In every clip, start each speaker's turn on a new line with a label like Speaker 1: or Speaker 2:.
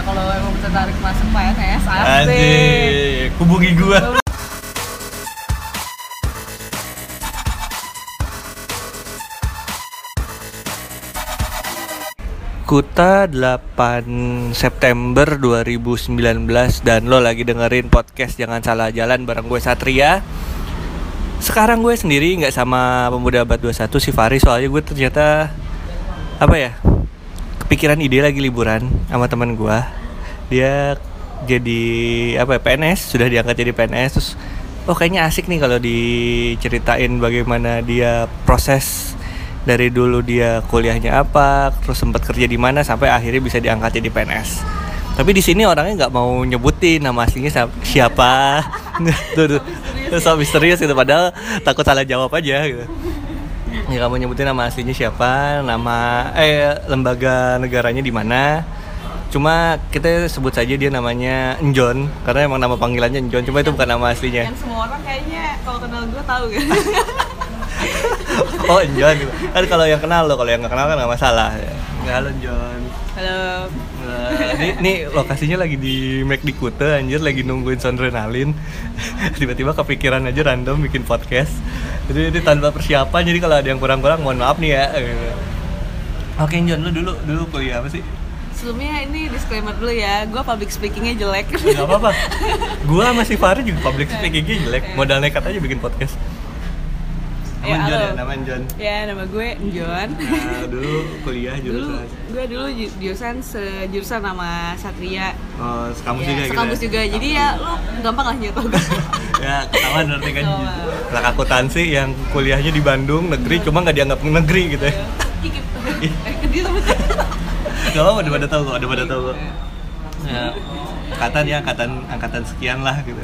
Speaker 1: Ya, tertarik masuk PNS asik.
Speaker 2: Anjir, hubungi gua. Kuta 8 September 2019 dan lo lagi dengerin podcast Jangan Salah Jalan bareng gue Satria Sekarang gue sendiri nggak sama pemuda abad 21 si Fari soalnya gue ternyata apa ya kepikiran ide lagi liburan sama teman gue dia jadi apa ya, PNS sudah diangkat jadi PNS terus oh kayaknya asik nih kalau diceritain bagaimana dia proses dari dulu dia kuliahnya apa terus sempat kerja di mana sampai akhirnya bisa diangkat jadi PNS tapi di sini orangnya nggak mau nyebutin nama aslinya sa- siapa tuh, tuh. So misterius gitu padahal takut salah jawab aja gitu ya kamu nyebutin nama aslinya siapa nama eh lembaga negaranya di mana cuma kita sebut saja dia namanya John karena emang nama panggilannya John cuma itu bukan nama aslinya
Speaker 1: Yang Kan semua orang kayaknya kalau kenal gue tahu gitu.
Speaker 2: oh John kan kalau yang kenal lo kalau yang nggak kenal kan nggak masalah nggak halo John
Speaker 1: Halo.
Speaker 2: ini, ini lokasinya lagi di Mac di Kuta anjir lagi nungguin Sondrenalin tiba-tiba kepikiran aja random bikin podcast jadi ini tanpa persiapan jadi kalau ada yang kurang-kurang mohon maaf nih ya gitu. Oke John lu dulu dulu kuliah apa sih?
Speaker 1: Sebelumnya ini disclaimer dulu ya, gue public speakingnya jelek.
Speaker 2: Gak apa-apa Gua masih Fahri juga public speakingnya jelek Modal nekat aja bikin podcast
Speaker 1: Ya,
Speaker 2: Naman John
Speaker 1: halo.
Speaker 2: ya, naman John
Speaker 1: ya nama gue John.
Speaker 2: Nah, dulu kuliah
Speaker 1: dulu
Speaker 2: jurusan
Speaker 1: gue dulu ju- jurusan sejurusan sama Satria.
Speaker 2: Oh,
Speaker 1: Ya,
Speaker 2: sekampus juga gitu
Speaker 1: sekampus juga. Jadi ya lu gampang lah nyetok gue.
Speaker 2: ya ketahuan berarti kan
Speaker 1: Ketahuan.
Speaker 2: anak akuntansi yang kuliahnya di Bandung negeri
Speaker 1: Iya.
Speaker 2: cuma nggak dianggap negeri gitu ya
Speaker 1: Kikip. Eh, ke dia sebutnya.
Speaker 2: nggak apa-apa udah pada tahu kok udah
Speaker 1: Iya.
Speaker 2: pada tahu kok ya, angkatan ya angkatan angkatan sekian lah gitu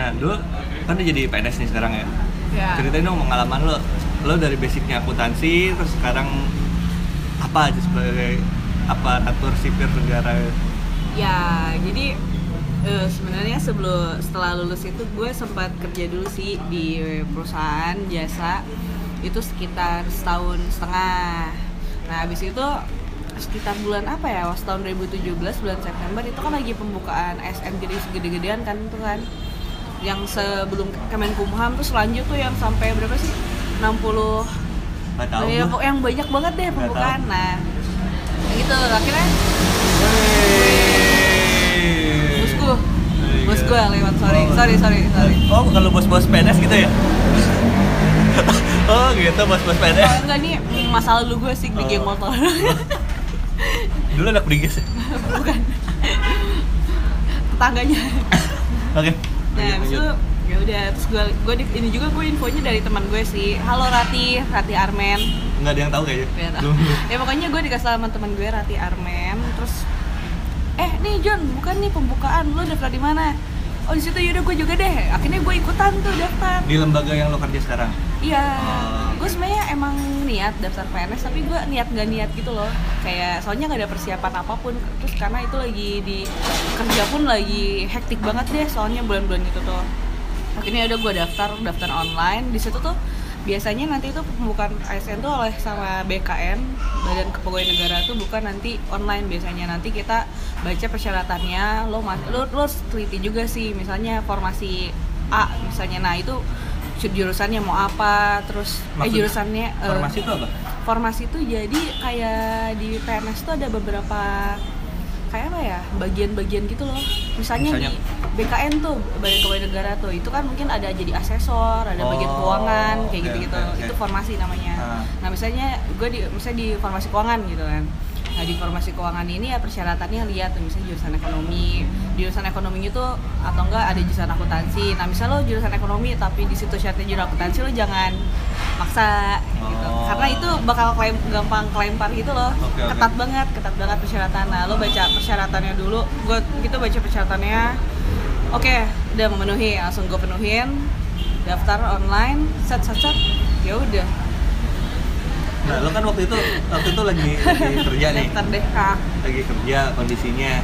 Speaker 2: nah dulu kan udah jadi PNS nih sekarang ya
Speaker 1: Ya.
Speaker 2: ceritain dong pengalaman lo lo dari basicnya akuntansi terus sekarang apa aja sebagai aparatur sipir negara
Speaker 1: Ya, jadi eh, sebenarnya sebelum setelah lulus itu gue sempat kerja dulu sih di perusahaan jasa itu sekitar setahun setengah. Nah, habis itu sekitar bulan apa ya? Was tahun 2017 bulan September itu kan lagi pembukaan SM jadi segede-gedean kan itu kan. Yang sebelum Kemenkumham terus lanjut tuh yang sampai berapa sih? 60
Speaker 2: nggak tahu
Speaker 1: Ya, kok
Speaker 2: gua.
Speaker 1: yang banyak banget deh
Speaker 2: Nggak
Speaker 1: pembukaan.
Speaker 2: tahu.
Speaker 1: Nah, gitu akhirnya
Speaker 2: Wey.
Speaker 1: bos gue
Speaker 2: Wey,
Speaker 1: bos
Speaker 2: gila.
Speaker 1: gue lewat sorry
Speaker 2: Oh.
Speaker 1: sorry sorry sorry
Speaker 2: Oh, kalau bos-bos PNS gitu ya? oh, gitu bos-bos
Speaker 1: oh,
Speaker 2: PNS.
Speaker 1: enggak nih masalah lu gue sih di geng
Speaker 2: Oh.
Speaker 1: motor
Speaker 2: Dulu anak Brigis. ya?
Speaker 1: tetangganya
Speaker 2: Oke.
Speaker 1: nah
Speaker 2: lanjut,
Speaker 1: habis
Speaker 2: lanjut.
Speaker 1: itu ya udah terus gue gue di- ini juga gue infonya dari teman gue sih halo Rati Rati Armen
Speaker 2: Nggak ada yang tahu kayaknya.
Speaker 1: Biar-
Speaker 2: Belum. belum.
Speaker 1: ya pokoknya gue dikasih sama teman gue Rati Armen terus eh nih John bukan nih pembukaan lu daftar di mana oh di situ yaudah gue juga deh akhirnya gue ikutan tuh daftar
Speaker 2: Di lembaga yang lo kerja sekarang.
Speaker 1: Iya,
Speaker 2: Oh.
Speaker 1: gue sebenarnya emang niat daftar PNS tapi gue niat gak niat gitu loh. Kayak soalnya nggak ada persiapan apapun. Terus karena itu lagi di kerja pun lagi hektik banget deh soalnya bulan-bulan itu tuh. Akhirnya udah gue daftar daftar online. Di situ tuh biasanya nanti itu pembukaan ASN tuh oleh sama BKN Badan Kepegawaian Negara tuh bukan nanti online biasanya nanti kita baca persyaratannya lo ma- lo lo harus teliti juga sih misalnya formasi A misalnya nah itu jurusannya mau apa terus eh
Speaker 2: Maksud-
Speaker 1: jurusannya eh,
Speaker 2: Formasi itu apa?
Speaker 1: formasi itu jadi kayak di PNS tuh ada beberapa kayak apa ya bagian-bagian gitu loh misalnya,
Speaker 2: Misalnya?
Speaker 1: di BKN tuh Badan Kepegawaian Negara tuh itu kan mungkin ada jadi asesor ada bagian
Speaker 2: Oh,
Speaker 1: keuangan kayak
Speaker 2: oke,
Speaker 1: gitu-gitu
Speaker 2: oke, oke.
Speaker 1: itu formasi namanya
Speaker 2: Ah.
Speaker 1: nah misalnya gue di misalnya di formasi keuangan gitu kan nah di formasi keuangan ini ya persyaratannya lihat tuh, misalnya jurusan ekonomi jurusan ekonomi itu atau enggak ada jurusan akuntansi nah misalnya lo jurusan ekonomi tapi di situ syaratnya jurusan akuntansi lo jangan maksa gitu
Speaker 2: Oh.
Speaker 1: karena itu bakal klaim gampang kelempar gitu loh
Speaker 2: Oke, oke.
Speaker 1: ketat banget ketat banget persyaratan nah lo baca persyaratannya dulu gue gitu baca persyaratannya oke udah memenuhi langsung gue penuhin daftar online set set set ya udah
Speaker 2: Nah, lo kan waktu itu waktu itu lagi, lagi kerja Iya nih.
Speaker 1: daftar deh Ah, kak
Speaker 2: Lagi kerja kondisinya.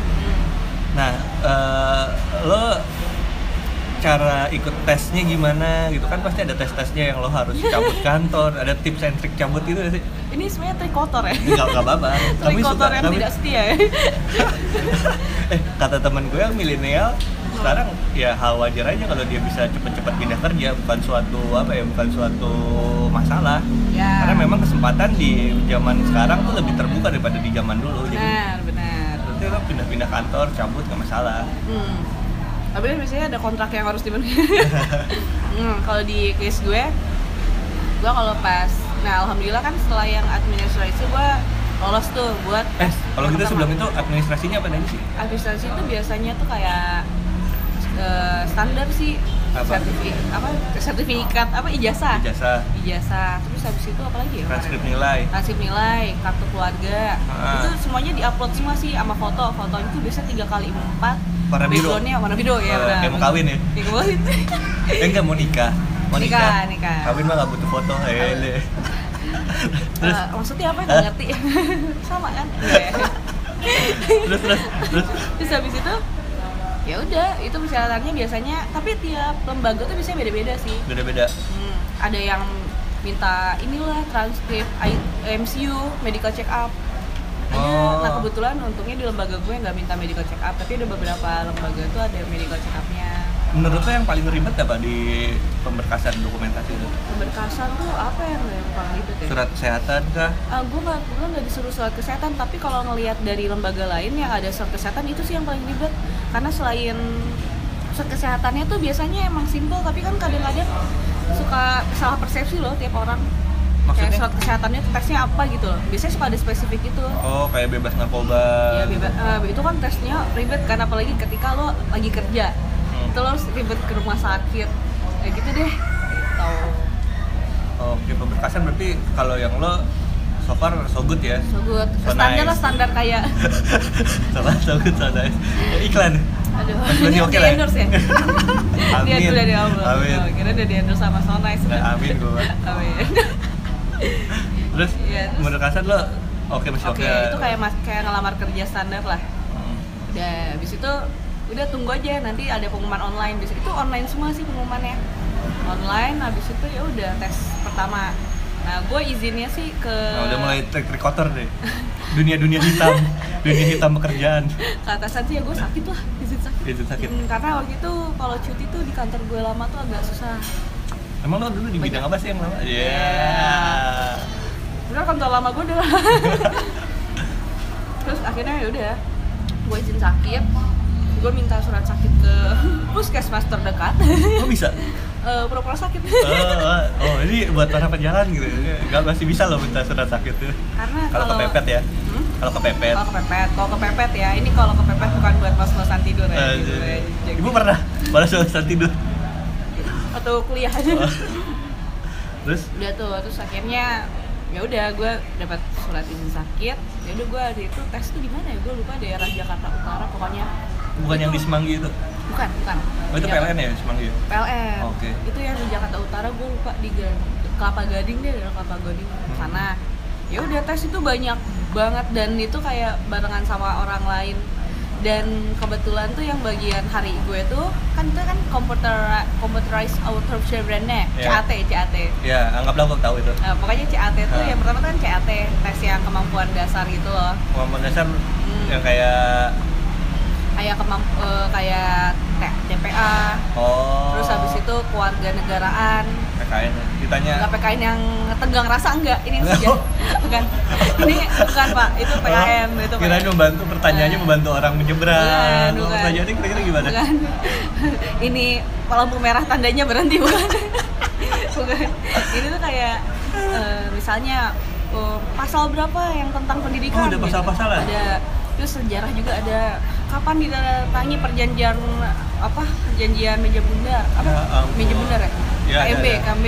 Speaker 2: Nah, eh, lo cara ikut tesnya gimana gitu kan pasti ada tes-tesnya yang lo harus cabut kantor, ada tips and trick cabut gitu nggak sih?
Speaker 1: ini sebenarnya trik kotor ya
Speaker 2: Enggak enggak apa-apa.
Speaker 1: trik kotor yang
Speaker 2: kami,
Speaker 1: tidak setia ya
Speaker 2: eh eh kata teman gue yang milenial sekarang ya hal wajar aja kalau dia bisa cepet-cepet pindah kerja bukan suatu apa ya bukan suatu masalah
Speaker 1: Ya.
Speaker 2: karena memang kesempatan di zaman sekarang tuh lebih terbuka daripada di zaman dulu jadi
Speaker 1: Benar, benar.
Speaker 2: berarti lo pindah-pindah kantor cabut gak masalah
Speaker 1: Hmm. Tapi kan biasanya ada kontrak yang harus dipenuhi. hmm, kalau di case gue, gue kalau pas, nah alhamdulillah kan setelah yang administrasi gue lolos tuh buat
Speaker 2: eh kalau
Speaker 1: pertama.
Speaker 2: kita sebelum itu administrasinya apa tadi sih
Speaker 1: administrasi itu biasanya tuh kayak eh, standar sih
Speaker 2: Apa?
Speaker 1: sertifikat apa sertifikat apa ijazah
Speaker 2: ijazah
Speaker 1: ijazah terus habis itu apa lagi ya
Speaker 2: transkrip nilai
Speaker 1: Transkrip nilai, kartu keluarga,
Speaker 2: Ah.
Speaker 1: itu semuanya diupload semua sih sama foto. Foto itu biasa tiga kali empat.
Speaker 2: Warna biru.
Speaker 1: Backgroundnya warna biru ya.
Speaker 2: Eh,
Speaker 1: benar.
Speaker 2: kayak mau kawin ya?
Speaker 1: Kayak mau kawin.
Speaker 2: eh nggak mau nikah mau
Speaker 1: Nikah, nikah.
Speaker 2: kawin mah gak butuh foto hele terus
Speaker 1: Eh, maksudnya apa? Nggak ngerti. Sama kan? Iya.
Speaker 2: terus terus terus
Speaker 1: Terus habis itu ya udah itu persyaratannya biasanya tapi tiap lembaga tuh biasanya beda-beda sih
Speaker 2: beda-beda
Speaker 1: Hmm, ada yang minta inilah transkrip I- MCU medical check up ada
Speaker 2: Oh.
Speaker 1: nah kebetulan untungnya di lembaga gue nggak minta medical check up tapi ada beberapa lembaga tuh ada medical check upnya
Speaker 2: menurut lo yang paling ribet apa di pemberkasan dokumentasi itu
Speaker 1: pemberkasan tuh apa yang yang paling ribet ya?
Speaker 2: surat kesehatan kah
Speaker 1: Ah, gue nggak gue nggak disuruh surat kesehatan tapi kalau ngelihat dari lembaga lain yang ada surat kesehatan itu sih yang paling ribet karena selain surat kesehatannya tuh biasanya emang simpel tapi kan kadang-kadang suka salah persepsi loh tiap orang kayak
Speaker 2: maksudnya
Speaker 1: surat kesehatannya tesnya apa gitu loh biasanya suka ada spesifik gitu
Speaker 2: oh kayak bebas narkoba
Speaker 1: ya bebas eh, itu kan tesnya ribet kan apalagi ketika lo lagi kerja
Speaker 2: Hmm.
Speaker 1: itu lo harus ribet ke rumah sakit ya gitu deh tau
Speaker 2: Oh, oke pemberkasan berarti kalau yang lo so far so good ya
Speaker 1: so good
Speaker 2: So
Speaker 1: standar lah
Speaker 2: nice.
Speaker 1: standar kayak
Speaker 2: so far so good so nice Ya, iklan
Speaker 1: aduh
Speaker 2: Berarti oke lah ya?
Speaker 1: di endorse ya dia
Speaker 2: amin
Speaker 1: udah di Allah
Speaker 2: amin
Speaker 1: Oh, kira udah di endorse sama so nice
Speaker 2: Nah, amin gua
Speaker 1: amin
Speaker 2: terus
Speaker 1: Iya, terus-
Speaker 2: pemberkasan lo oke masih
Speaker 1: oke
Speaker 2: oke
Speaker 1: itu kayak mas kayak ngelamar kerja standar lah udah habis itu udah tunggu aja nanti ada pengumuman online bisa itu online semua sih pengumumannya online habis itu ya udah tes pertama nah gue izinnya sih ke
Speaker 2: Nah, udah mulai track recorder deh dunia dunia hitam dunia hitam pekerjaan
Speaker 1: ke atasan sih ya gue sakit lah izin sakit,
Speaker 2: Izin Iya, sakit.
Speaker 1: Hmm, karena waktu itu kalau cuti tuh di kantor gue lama tuh agak susah
Speaker 2: emang lo dulu di
Speaker 1: Banyak.
Speaker 2: bidang apa sih yang lama ya
Speaker 1: Iya. bener kantor lama gue udah terus akhirnya ya udah gue izin sakit gue minta surat sakit ke puskesmas terdekat
Speaker 2: lo Iya. bisa
Speaker 1: Eh, pura-pura sakit
Speaker 2: oh, oh, ini buat para pejalan gitu nggak masih bisa lo minta surat sakit tuh
Speaker 1: karena
Speaker 2: kalau kepepet ya
Speaker 1: Hmm?
Speaker 2: kalau kepepet
Speaker 1: Kalau kepepet, kalau kepepet ya. Ini kalau kepepet bukan buat mas-masan tidur ya.
Speaker 2: Eh,
Speaker 1: gitu ya. Jadi-
Speaker 2: ibu pernah pada saat tidur
Speaker 1: atau kuliah aja.
Speaker 2: Oh. terus
Speaker 1: udah tuh, terus akhirnya ya udah gue dapat surat izin sakit. Ya udah gue hari itu tes tuh di mana ya? Gue lupa daerah Jakarta Utara pokoknya.
Speaker 2: bukan yang di Semanggi itu
Speaker 1: Bukan, bukan.
Speaker 2: oh, itu
Speaker 1: Di Jakarta-
Speaker 2: PLN ya Semanggi ya?
Speaker 1: PLN.
Speaker 2: Oke.
Speaker 1: Itu yang di Jakarta Utara gue lupa di Gan- Kelapa Gading deh, daerah Kelapa Gading
Speaker 2: Hmm.
Speaker 1: sana. Ya udah tes itu banyak banget dan itu kayak barengan sama orang lain. Dan kebetulan tuh yang bagian hari gue tuh kan itu kan computer computerized authorship brandnya
Speaker 2: Iya.
Speaker 1: CAT CAT.
Speaker 2: ya anggaplah gue tahu itu
Speaker 1: Nah, pokoknya CAT tuh
Speaker 2: Ah.
Speaker 1: yang pertama tuh kan CAT tes yang kemampuan dasar gitu loh.
Speaker 2: kemampuan dasar
Speaker 1: Hmm.
Speaker 2: yang kayak
Speaker 1: Kayak kemamp eh, kayak T- TPA,
Speaker 2: oh
Speaker 1: terus habis itu kewarganegaraan,
Speaker 2: PKN ya. ditanya
Speaker 1: Enggak PKN yang tegang rasa enggak, ini yang segar.
Speaker 2: Oh.
Speaker 1: bukan. Ini bukan Pak, itu PKN, itu Iya,
Speaker 2: kira
Speaker 1: PKN.
Speaker 2: membantu pertanyaannya
Speaker 1: Eh.
Speaker 2: membantu orang
Speaker 1: Bukan,
Speaker 2: menyeberang Kalau
Speaker 1: bukan.
Speaker 2: pertanyaannya kira-kira gimana
Speaker 1: Bukan. Ini lampu merah tandanya berhenti bukan. bukan. Ini tuh kayak eh, misalnya eh, pasal berapa yang tentang pendidikan? gitu.
Speaker 2: Oh, ada pasal-pasalan?
Speaker 1: Ada terus sejarah juga ada kapan ditandatangani perjanjian apa perjanjian meja bundar apa
Speaker 2: Ya ampun.
Speaker 1: meja bundar ya,
Speaker 2: Ya, ada,
Speaker 1: KMB
Speaker 2: ada.
Speaker 1: KMB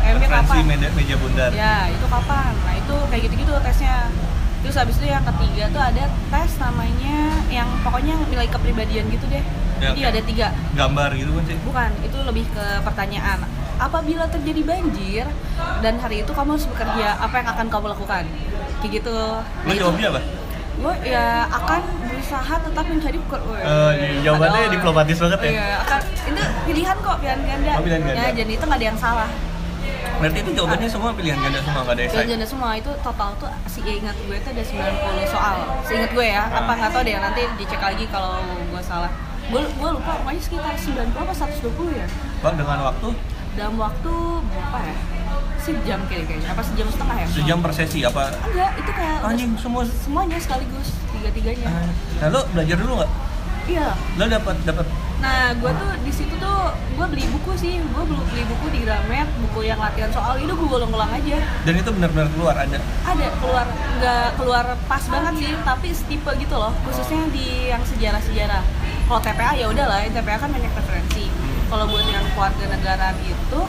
Speaker 1: KMB
Speaker 2: referensi
Speaker 1: kapan
Speaker 2: meja, meja bundar
Speaker 1: Ya, itu kapan? Nah, itu kayak gitu-gitu tesnya. Terus habis itu yang ketiga tuh ada tes namanya yang pokoknya nilai kepribadian gitu deh.
Speaker 2: Ya,
Speaker 1: Jadi
Speaker 2: oke.
Speaker 1: ada tiga.
Speaker 2: gambar gitu kan sih
Speaker 1: Bukan, itu lebih ke pertanyaan. Apabila terjadi banjir dan hari itu kamu harus bekerja, apa yang akan kamu lakukan? Kayak gitu.
Speaker 2: lo
Speaker 1: Nah, itu
Speaker 2: jawabnya apa?
Speaker 1: gue ya akan berusaha tetap mencari peker
Speaker 2: Eh, jawabannya diplomatis banget ya?
Speaker 1: Iya, akan itu pilihan kok pilihan ganda.
Speaker 2: Oh, pilihan ganda.
Speaker 1: Ya, jadi itu nggak ada yang salah.
Speaker 2: Berarti itu jawabannya semua pilihan ganda semua nggak ada
Speaker 1: Dan
Speaker 2: esai.
Speaker 1: janda semua itu total tuh seingat gue tuh ada 90 soal. Seingat gue ya,
Speaker 2: Ah.
Speaker 1: apa nggak tahu deh nanti dicek lagi kalau gue salah. Gue gue lupa pokoknya sekitar 90 apa 120 ya.
Speaker 2: Bang dengan waktu
Speaker 1: Dalam waktu berapa ya? Sejam kayaknya, kayaknya. apa sejam setengah ya?
Speaker 2: sejam per sesi apa?
Speaker 1: Enggak, itu kayak udah
Speaker 2: Anjing semua.
Speaker 1: semuanya sekaligus tiga-tiganya.
Speaker 2: Nah lo belajar dulu nggak?
Speaker 1: Iya.
Speaker 2: Lo dapat dapat
Speaker 1: Nah, gue tuh di situ tuh gue beli buku sih, gue beli beli buku di Gramet, buku yang latihan soal itu gue ulang-ulang aja.
Speaker 2: dan itu benar-benar keluar ada.
Speaker 1: ada keluar nggak keluar pas banget sih tapi setipe gitu loh khususnya di yang sejarah-sejarah kalau TPA ya udahlah TPA kan banyak referensi kalau buat yang keluarga negaraan itu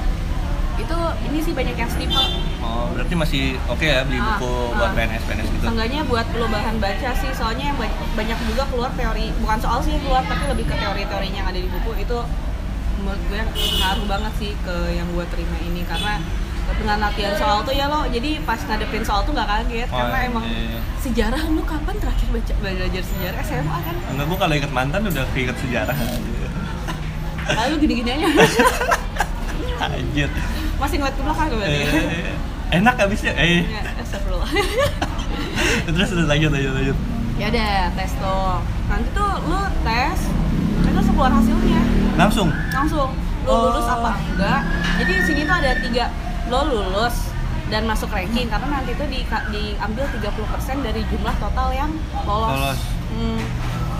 Speaker 1: itu ini sih banyak yang setipe
Speaker 2: Oh berarti masih oke ya beli
Speaker 1: Ah,
Speaker 2: buku buat
Speaker 1: ah.
Speaker 2: PNS PNS gitu.
Speaker 1: Seenggaknya buat lo bahan baca sih, soalnya yang banyak, banyak juga keluar teori, bukan soal sih yang keluar, tapi lebih ke teori-teorinya yang ada di buku itu menurut gue ngaruh banget sih ke yang gue terima ini karena dengan latihan soal tuh ya lo jadi pas ngadepin soal tuh nggak kaget karena
Speaker 2: Oh,
Speaker 1: emang
Speaker 2: iya, iya.
Speaker 1: sejarah lu kapan terakhir baca belajar sejarah SMA kan
Speaker 2: Enggak gua kalau inget mantan udah keinget sejarah.
Speaker 1: lalu gini-gini aja
Speaker 2: Anjir.
Speaker 1: masih ngeliat ke belakang berarti
Speaker 2: Eh, enak abisnya. Eh.
Speaker 1: ya astagfirullah
Speaker 2: Terus terus lanjut lanjut lanjut.
Speaker 1: ya udah tes tuh nanti tuh lu tes terus keluar hasilnya
Speaker 2: Langsung.
Speaker 1: langsung lo lulus
Speaker 2: Oh.
Speaker 1: apa enggak jadi di sini tuh ada tiga lo lulus dan masuk ranking karena nanti tuh di, diambil 30% dari jumlah total yang lolos,
Speaker 2: Lolos.
Speaker 1: Hmm.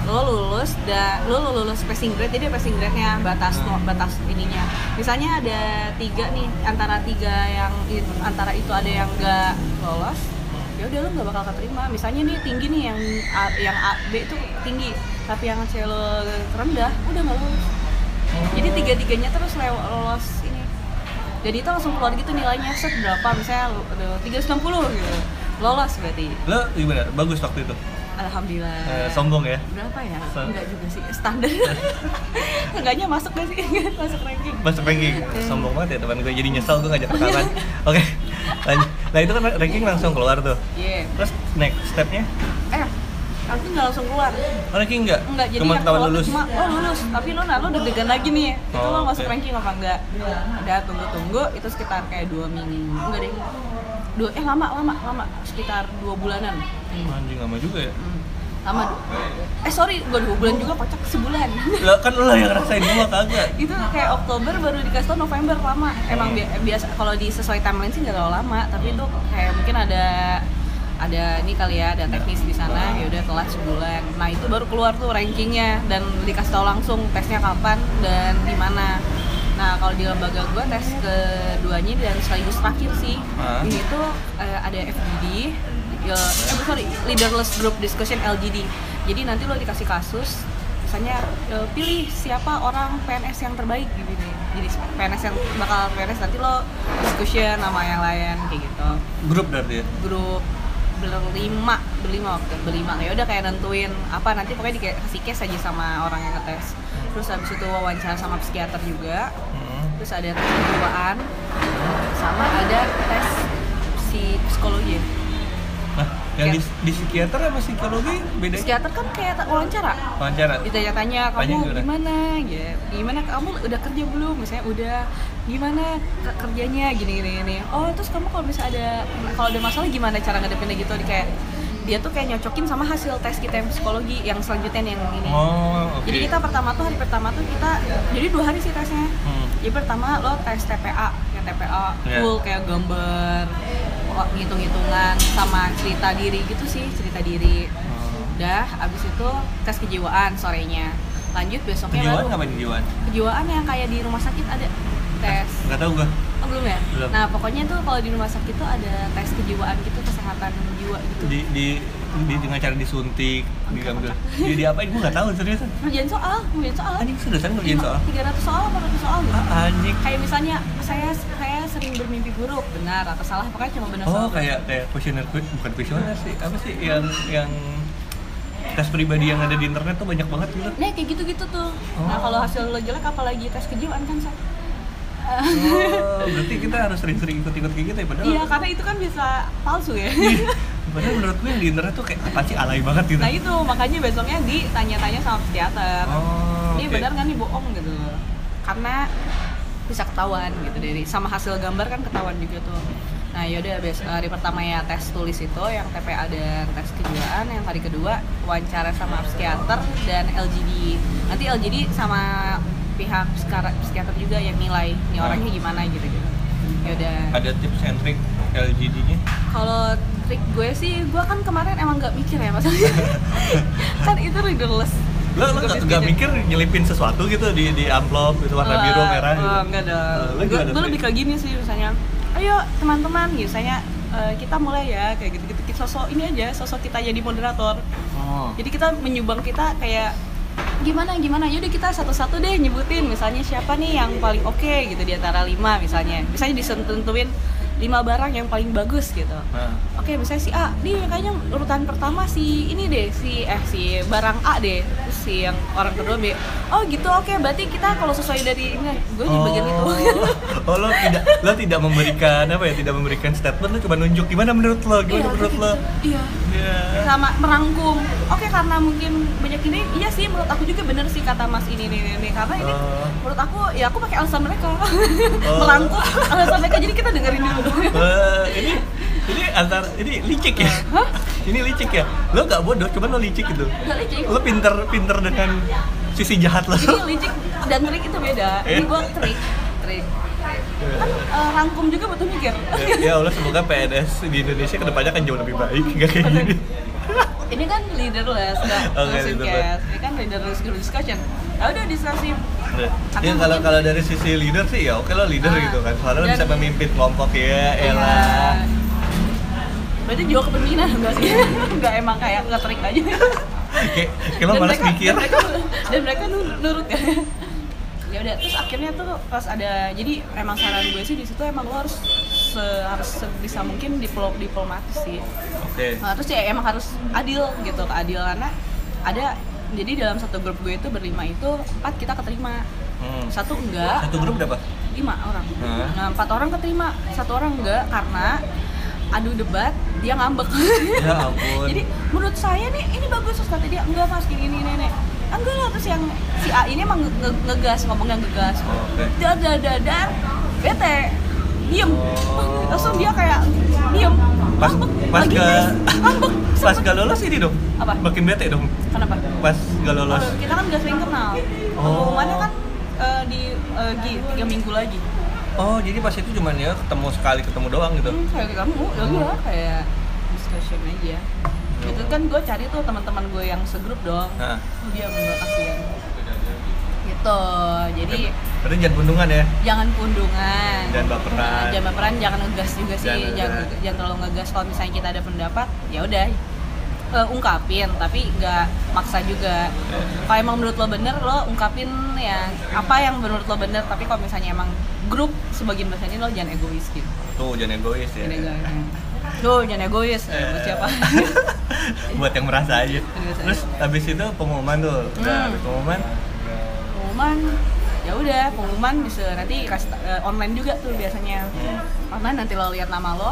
Speaker 1: lo lulus dan lo lulus passing grade jadi passing grade nya batas
Speaker 2: Hmm.
Speaker 1: batas ininya misalnya ada tiga nih antara tiga yang i- antara itu ada yang enggak lolos ya udah lo nggak bakal keterima misalnya nih tinggi nih yang A, yang A, B itu tinggi tapi yang C lo rendah udah nggak lulus jadi tiga tiganya terus lew- lolos ini jadi itu langsung keluar gitu nilainya set berapa misalnya tiga gitu lolos berarti
Speaker 2: Lo gimana? Bagus waktu itu.
Speaker 1: alhamdulillah
Speaker 2: Eh, sombong ya.
Speaker 1: berapa ya
Speaker 2: Sa-
Speaker 1: enggak juga sih standar enggaknya masuk gak sih masuk ranking
Speaker 2: Masuk ranking.
Speaker 1: Hmm.
Speaker 2: Sombong banget ya teman gue. Jadi nyesel gue
Speaker 1: Iya.
Speaker 2: ngajak rekaman. Oke. Lanjut. Nah itu kan ranking langsung keluar tuh.
Speaker 1: iya
Speaker 2: Terus next stepnya?
Speaker 1: eh nanti nggak langsung keluar
Speaker 2: Oh, ranking enggak?
Speaker 1: enggak jadi
Speaker 2: cuma
Speaker 1: yang
Speaker 2: ketahuan
Speaker 1: keluar tuh
Speaker 2: lulus.
Speaker 1: cuma oh lulus tapi lo nah lo deg-degan lagi nih itu
Speaker 2: Oh,
Speaker 1: lo masuk
Speaker 2: oke.
Speaker 1: ranking apa enggak udah tunggu-tunggu itu sekitar kayak dua minggu enggak deh dua eh lama lama lama sekitar dua bulanan
Speaker 2: Anjing lama juga ya.
Speaker 1: Hmm. lama Du. eh sorry gue dua bulan juga kocak sebulan
Speaker 2: Lo kan lo yang ngerasain gua kagak.
Speaker 1: itu kayak Oktober baru dikasih tau November lama emang bi- biasa kalau di sesuai timeline sih nggak terlalu lama tapi itu kayak mungkin ada ada ini kali ya ada teknis di sana ya udah telat sebulan nah itu baru keluar tuh rankingnya dan dikasih tau langsung tesnya kapan dan di mana nah kalau di lembaga gue tes keduanya dan sekaligus terakhir sih
Speaker 2: Ah.
Speaker 1: ini tuh eh, ada FGD ya, eh, sorry leaderless group discussion LGD jadi nanti lo dikasih kasus misalnya eh, pilih siapa orang PNS yang terbaik gitu nih. jadi PNS yang bakal PNS nanti lo discussion sama yang lain kayak gitu
Speaker 2: Grup berarti ya.
Speaker 1: grup berlima berlima waktu berlima ya udah kayak nentuin apa nanti pokoknya dikasih case aja sama orang yang ngetes terus habis itu wawancara sama psikiater juga
Speaker 2: Hmm.
Speaker 1: terus ada tes kejiwaan sama ada tes si psikologi
Speaker 2: Nah, yang di, di psikiater sama psikologi bedanya?
Speaker 1: psikiater kan kayak ta- wawancara
Speaker 2: Wawancara.
Speaker 1: ditanya-tanya
Speaker 2: Tanya
Speaker 1: kamu
Speaker 2: gimana?
Speaker 1: gimana ya gimana kamu udah kerja belum misalnya udah gimana ke- kerjanya gini gini gini oh terus kamu kalau bisa ada kalau ada masalah gimana cara ngadepinnya gitu di kayak dia tuh kayak nyocokin sama hasil tes kita yang psikologi yang selanjutnya yang ini
Speaker 2: Oh, oke.
Speaker 1: jadi kita pertama tuh hari pertama tuh kita jadi dua hari sih tesnya
Speaker 2: Hmm.
Speaker 1: jadi Ya, pertama lo tes TPA, yang TPA
Speaker 2: Iya.
Speaker 1: full kayak gambar, wah, ngitung-ngitungan sama cerita diri gitu sih, cerita diri.
Speaker 2: Oh.
Speaker 1: Udah, abis itu tes kejiwaan sorenya. Lanjut besoknya
Speaker 2: Kejiwaan
Speaker 1: lalu
Speaker 2: ngapain kejiwaan?
Speaker 1: kejiwaan yang kayak di rumah sakit ada tes.
Speaker 2: Enggak tahu gua.
Speaker 1: Oh, belum ya?
Speaker 2: Eh, Belum.
Speaker 1: Nah, pokoknya tuh kalau di rumah sakit tuh ada tes kejiwaan gitu, kesehatan jiwa gitu.
Speaker 2: Di di di dengan cara disuntik, digambil. Di, di apain gua enggak tahu seriusan.
Speaker 1: Kerjaan soal, kerjaan soal.
Speaker 2: Anjing seriusan ngerjain soal.
Speaker 1: 300 soal, 400 soal gitu.
Speaker 2: Ah, anjing.
Speaker 1: kayak misalnya saya saya sering bermimpi buruk benar atau salah pokoknya cuma benar
Speaker 2: Oh,
Speaker 1: salah.
Speaker 2: kayak kayak kuesioner quiz, bukan kuesioner sih. Apa sih yang yang tes pribadi yang ada di internet tuh banyak banget gitu.
Speaker 1: nah kayak gitu-gitu tuh nah
Speaker 2: Oh.
Speaker 1: kalau hasil lo jelek apalagi tes kejiwaan kan Sa?
Speaker 2: Oh, berarti kita harus sering-sering ikut-ikut kayak gitu ya padahal.
Speaker 1: iya karena itu kan bisa palsu ya
Speaker 2: Iya, gitu. Padahal menurut gue yang di internet tuh kayak apa sih alay banget gitu.
Speaker 1: nah itu makanya besoknya ditanya-tanya sama psikiater
Speaker 2: Oh,
Speaker 1: ini
Speaker 2: oke.
Speaker 1: benar kan nih bohong gitu karena bisa ketahuan gitu dari sama hasil gambar kan ketahuan juga tuh nah yaudah bes- hari pertama ya tes tulis itu yang TPA dan tes kejiwaan yang hari kedua wawancara sama psikiater dan LGD nanti LGD sama pihak psikara- psikiater juga yang nilai ini
Speaker 2: Ah.
Speaker 1: orangnya gimana gitu gitu yaudah
Speaker 2: Ada tips and trick LGD-nya?
Speaker 1: kalau trik gue sih gue kan kemarin emang nggak mikir ya masalahnya kan itu readerless
Speaker 2: Lo lo nggak
Speaker 1: ya.
Speaker 2: nggak mikir nyelipin sesuatu gitu di di amplop itu warna biru
Speaker 1: Wah,
Speaker 2: merah gitu.
Speaker 1: wah, Oh, enggak dong.
Speaker 2: Eh, lu
Speaker 1: Gue
Speaker 2: gimana,
Speaker 1: gue
Speaker 2: Pri?
Speaker 1: lebih kayak gini sih misalnya. Ayo teman-teman gitu misalnya eh, kita mulai ya kayak gitu-gitu Kita sosok ini aja sosok kita jadi moderator.
Speaker 2: Oh.
Speaker 1: Jadi kita menyumbang kita kayak gimana gimana yaudah kita satu-satu deh nyebutin misalnya siapa nih yang paling oke gitu di antara lima misalnya misalnya disentuhin lima barang yang paling bagus gitu
Speaker 2: Nah.
Speaker 1: oke misalnya si A dia kayaknya urutan pertama si ini deh si eh si barang A deh terus si yang orang kedua B oh gitu oke berarti kita kalau sesuai dari ini gue di bagian itu
Speaker 2: oh lo tidak lo tidak memberikan apa ya tidak memberikan statement lo cuma nunjuk gimana menurut lo gimana
Speaker 1: Iya,
Speaker 2: menurut lo
Speaker 1: gitu-gitu. iya
Speaker 2: Iya.
Speaker 1: sama merangkum oke karena mungkin banyak ini iya sih menurut aku juga bener sih kata mas ini nih, nih, nih. karena ini
Speaker 2: Oh.
Speaker 1: menurut aku ya aku pakai alasan mereka merangkum alasan mereka jadi kita dengerin dulu
Speaker 2: Wah, Eh, ini ini antar ini licik ya
Speaker 1: Hah?
Speaker 2: ini licik ya lo nggak bodoh cuman lo licik gitu
Speaker 1: Nggak licik.
Speaker 2: lo pinter pinter dengan sisi jahat lo
Speaker 1: jadi licik dan trik itu beda ini gue trik trik kan eh, rangkum juga butuh mikir
Speaker 2: Ya- ya Allah semoga PNS di Indonesia kedepannya akan jauh lebih baik nggak kayak gini
Speaker 1: ini kan leaderless nggak
Speaker 2: Oke,
Speaker 1: langsung
Speaker 2: leaderless.
Speaker 1: cast. ini kan leaderless group discussion ya udah diskusi
Speaker 2: Ya kalau kalau dari sisi leader sih ya oke lo leader
Speaker 1: Ah.
Speaker 2: gitu kan soalnya lo
Speaker 1: Dan-
Speaker 2: bisa memimpin kelompok ya
Speaker 1: Iya.
Speaker 2: elah
Speaker 1: berarti juga kepemimpinan enggak sih enggak emang kayak nggak trik aja
Speaker 2: kayak kayak lo malas mikir
Speaker 1: dan mereka, dan mereka nur- nurut ya ya udah terus akhirnya tuh pas ada jadi emang saran gue sih di situ emang lo harus se- harus sebisa mungkin diplo- diplomatis sih
Speaker 2: oke
Speaker 1: Nah, terus ya emang harus adil gitu keadilannya ada jadi dalam satu grup gue itu berlima itu empat kita keterima
Speaker 2: Hmm.
Speaker 1: satu enggak
Speaker 2: satu grup berapa
Speaker 1: lima orang
Speaker 2: Hah?
Speaker 1: nah, empat orang keterima satu orang enggak karena adu debat dia ngambek
Speaker 2: ya ampun
Speaker 1: jadi menurut saya nih ini bagus terus kata dia enggak mas gini gini gini, gini." "Ah, enggak lah terus yang si A ini emang nge- nge- ngegas ngomongnya ngegas
Speaker 2: oke
Speaker 1: dar dar dar dar bete diem
Speaker 2: Oh.
Speaker 1: langsung dia kayak diem
Speaker 2: Pas-
Speaker 1: ngambek
Speaker 2: pas
Speaker 1: lagi
Speaker 2: ke-
Speaker 1: tes, ngambek
Speaker 2: pas gak lolos ini dong
Speaker 1: Apa?
Speaker 2: makin bete dong
Speaker 1: kenapa
Speaker 2: pas gak lolos
Speaker 1: kita kan gak sering kenal
Speaker 2: Oh.
Speaker 1: pengumumannya kan eh, di eh, G, tiga minggu lagi
Speaker 2: oh jadi pas itu cuman ya ketemu sekali ketemu doang gitu
Speaker 1: Hmm, kayak kamu ya udah kayak discussion aja
Speaker 2: Iya.
Speaker 1: gitu kan gue cari tuh teman-teman gue yang segrup dong
Speaker 2: nah
Speaker 1: oh, dia nggak kasihan gitu jadi
Speaker 2: berarti jangan bendungan ya
Speaker 1: jangan pundungan
Speaker 2: Jangan baperan.
Speaker 1: Nah, jangan baperan jangan ngegas juga sih
Speaker 2: Jangan
Speaker 1: jangan, jangan,
Speaker 2: ngegas.
Speaker 1: terlalu ngegas kalau misalnya kita ada pendapat ya udah eh, ungkapin tapi nggak maksa juga
Speaker 2: Iya.
Speaker 1: kalau emang menurut lo bener lo ungkapin ya apa yang menurut lo bener tapi kalau misalnya emang grup sebagian besarnya lo jangan egois gitu
Speaker 2: tuh jangan egois ya
Speaker 1: Jangan egois. Tuh, jangan egois. Eh, buat siapa?
Speaker 2: buat yang merasa aja
Speaker 1: Merasa
Speaker 2: terus habis itu pengumuman tuh nah
Speaker 1: Hmm.
Speaker 2: habis pengumuman
Speaker 1: pengumuman ya udah pengumuman bisa nanti kasih ta- eh, online juga tuh biasanya online nanti lo lihat nama lo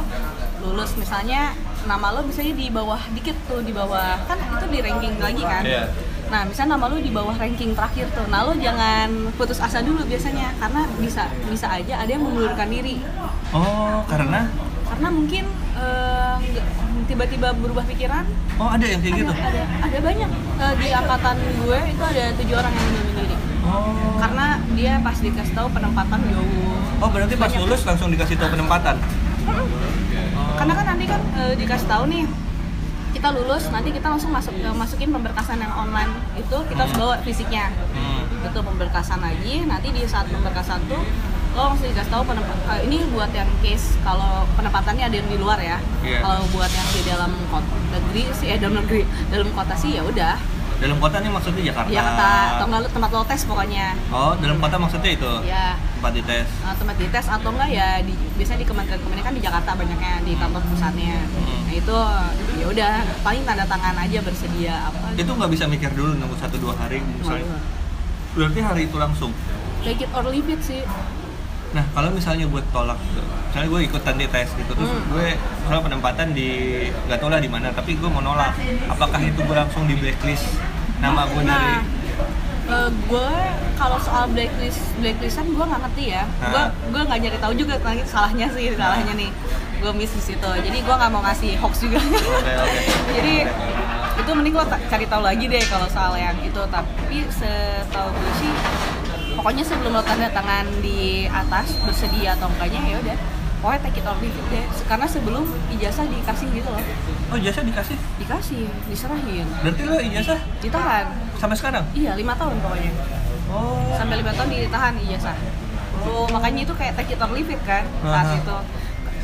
Speaker 1: lulus misalnya nama lo misalnya di bawah dikit tuh di bawah kan itu di ranking lagi kan
Speaker 2: Iya.
Speaker 1: nah misalnya nama lo di bawah ranking terakhir tuh nah lo jangan putus asa dulu biasanya karena bisa bisa aja ada yang mengundurkan diri
Speaker 2: oh karena
Speaker 1: karena mungkin eh, nggak- tiba-tiba berubah pikiran
Speaker 2: oh ada yang kayak gitu
Speaker 1: ada, ada, ada banyak Eh, di angkatan gue itu ada tujuh orang yang bunuh diri
Speaker 2: oh
Speaker 1: karena dia pas dikasih tahu penempatan jauh
Speaker 2: oh berarti pas
Speaker 1: Banyak.
Speaker 2: lulus langsung dikasih tahu penempatan
Speaker 1: Mm-mm. karena kan nanti kan eh, dikasih tahu nih kita lulus nanti kita langsung masuk eh, masukin pemberkasan yang online itu kita harus bawa fisiknya
Speaker 2: Hmm.
Speaker 1: itu pemberkasan lagi nanti di saat pemberkasan tuh lo langsung dikasih tahu penempat- eh, ini buat yang case kalau penempatannya ada yang di luar ya
Speaker 2: Iya.
Speaker 1: kalau buat yang di dalam kota negeri sih eh dalam negeri dalam kota sih ya udah
Speaker 2: dalam kota nih maksudnya Jakarta
Speaker 1: Jakarta atau enggak lu- tempat lo tes pokoknya
Speaker 2: oh dalam kota maksudnya itu
Speaker 1: ya
Speaker 2: tempat dites
Speaker 1: uh, tempat dites atau enggak ya di, biasanya di kementerian kan di Jakarta banyaknya di kantor pusatnya
Speaker 2: Hmm.
Speaker 1: nah itu ya udah paling tanda tangan aja bersedia apa
Speaker 2: itu nggak bisa mikir dulu nunggu satu dua hari
Speaker 1: Cuma
Speaker 2: misalnya
Speaker 1: dua.
Speaker 2: berarti hari itu langsung
Speaker 1: take it or leave it sih
Speaker 2: nah kalau misalnya gue tolak gitu, misalnya gue ikutan di tes gitu terus
Speaker 1: Hmm.
Speaker 2: gue misalnya penempatan di nggak tau lah di mana tapi gue mau nolak apakah itu gue langsung di blacklist nama gue dari
Speaker 1: nah Eh, gue kalau soal blacklist blacklistan gue nggak ngerti ya gue
Speaker 2: Ah.
Speaker 1: gue nggak nyari tahu juga kan salahnya sih salahnya nih gue miss di situ jadi gue nggak mau ngasih hoax juga
Speaker 2: Oke, oke.
Speaker 1: jadi itu mending lo ta- cari tahu lagi deh kalau soal yang itu tapi setahu gue sih pokoknya sebelum lo tanda tangan di atas bersedia atau enggaknya ya udah pokoknya take it or leave it deh karena sebelum ijazah dikasih gitu loh
Speaker 2: Oh ijazah dikasih?
Speaker 1: dikasih diserahin
Speaker 2: Berarti lo ijazah
Speaker 1: ditahan
Speaker 2: sampai sekarang?
Speaker 1: iya lima tahun pokoknya
Speaker 2: Oh.
Speaker 1: sampai lima tahun ditahan ijazah lo makanya itu kayak take it or leave it kan saat
Speaker 2: Aha.
Speaker 1: itu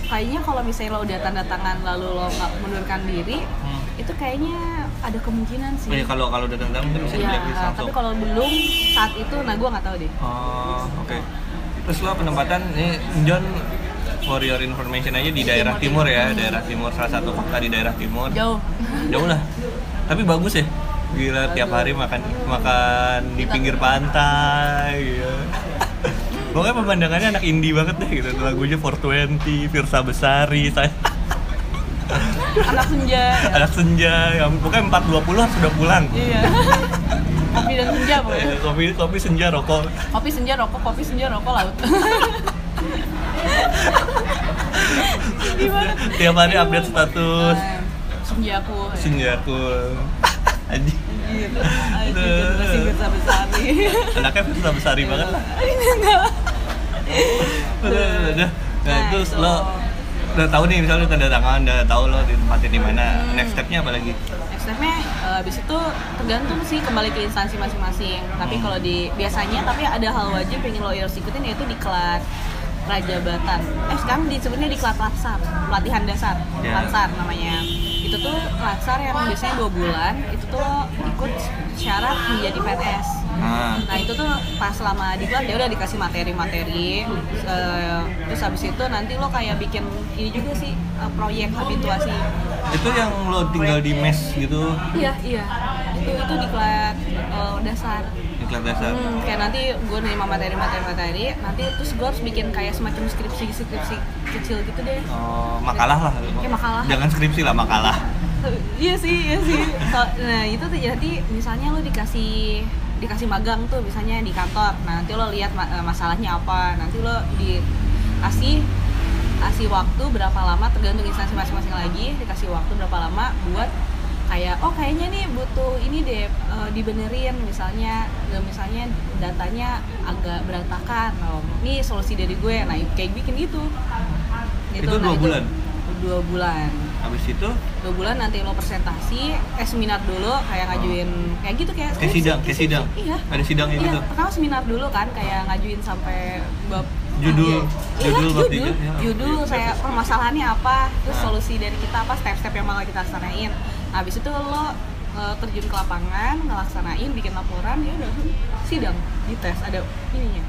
Speaker 1: kayaknya kalau misalnya lo udah tanda tangan lalu lo nggak mundurkan diri
Speaker 2: Hmm.
Speaker 1: itu kayaknya ada kemungkinan sih
Speaker 2: Oh, iya, kalau kalau udah tentang mungkin bisa di
Speaker 1: Iya,
Speaker 2: blacklist langsung.
Speaker 1: tapi kalau belum saat itu, nah gue nggak tahu deh.
Speaker 2: Oh, oke. Terus lo penempatan ini John for your information aja di daerah timur ya, daerah timur salah satu kota di daerah timur.
Speaker 1: Iya, Jauh.
Speaker 2: Jauh lah. Tapi bagus ya. Gila tiap hari makan makan di pinggir pantai gitu. Pokoknya pemandangannya anak indie banget deh gitu. Lagunya 420, Firsa Besari, saya
Speaker 1: Anak senja. ya.
Speaker 2: anak senja, ya, pokoknya 420 harus sudah pulang.
Speaker 1: Iya. kopi dan senja pokoknya.
Speaker 2: Eh, Kopi kopi senja rokok.
Speaker 1: Kopi senja rokok, kopi senja rokok laut. Gimana? Nah,
Speaker 2: Tiap hari update status.
Speaker 1: senja aku. ya.
Speaker 2: Senja aku. Anjing.
Speaker 1: Gitu. Aduh, masih besar besar nih.
Speaker 2: anaknya besar besari banget lah udah udah, udah nah,
Speaker 1: Nah,
Speaker 2: terus
Speaker 1: itu.
Speaker 2: lo udah tahu nih misalnya tanda tangan udah tahu lo ditempatin di mana next stepnya apa lagi
Speaker 1: Next step-nya eh, abis itu tergantung sih kembali ke instansi masing-masing. Tapi
Speaker 2: Hmm.
Speaker 1: kalau di biasanya tapi ada hal wajib yang lo harus ikutin yaitu diklat prajabatan. Eh sekarang disebutnya diklat latsar, pelatihan dasar,
Speaker 2: Ya.
Speaker 1: latsar namanya. Itu tuh latsar yang biasanya dua bulan. Itu tuh lo ikut syarat menjadi PNS.
Speaker 2: ah
Speaker 1: Nah itu tuh pas lama diklat ya udah dikasih materi-materi eh, Terus habis itu nanti lo kayak bikin ini juga sih eh, proyek habituasi
Speaker 2: itu yang lo tinggal di mes gitu
Speaker 1: Iya, iya. Itu itu diklat eh, dasar.
Speaker 2: di kelas dasar
Speaker 1: Hmm, kayak nanti gue nerima materi-materi-materi, nanti terus gue harus bikin kayak semacam skripsi-skripsi kecil gitu deh.
Speaker 2: Oh, makalah lah
Speaker 1: Ya, makalah.
Speaker 2: jangan skripsi lah makalah
Speaker 1: iya sih, iya sih. So- nah itu tuh jadi misalnya lo dikasih dikasih magang tuh misalnya di kantor, nah, nanti lo lihat ma- eh, masalahnya apa, nanti lo dikasih kasih waktu berapa lama tergantung instansi masing-masing lagi dikasih waktu berapa lama buat kayak oh kayaknya nih butuh ini deh eh, dibenerin misalnya eh, misalnya datanya agak berantakan oh, ini solusi dari gue nah kayak bikin gitu, Nah,
Speaker 2: Itu dua bulan?
Speaker 1: dua bulan
Speaker 2: habis itu
Speaker 1: dua bulan nanti lo presentasi eh seminar dulu kayak ngajuin kayak gitu kayak
Speaker 2: kayak
Speaker 1: skripsi,
Speaker 2: sidang kayak
Speaker 1: skripsi.
Speaker 2: sidang
Speaker 1: iya
Speaker 2: ada sidangnya
Speaker 1: iya
Speaker 2: gitu
Speaker 1: pertama seminar dulu kan kayak ngajuin sampai bab
Speaker 2: Judul-
Speaker 1: Iya,
Speaker 2: judul bab
Speaker 1: judul,
Speaker 2: tiga, ya.
Speaker 1: judul
Speaker 2: Iya,
Speaker 1: saya
Speaker 2: bagus.
Speaker 1: permasalahannya apa terus
Speaker 2: Nah.
Speaker 1: solusi dari kita apa step-step yang bakal kita laksanain nah, habis itu lo eh, terjun ke lapangan ngelaksanain bikin laporan ya udah sidang dites ada ininya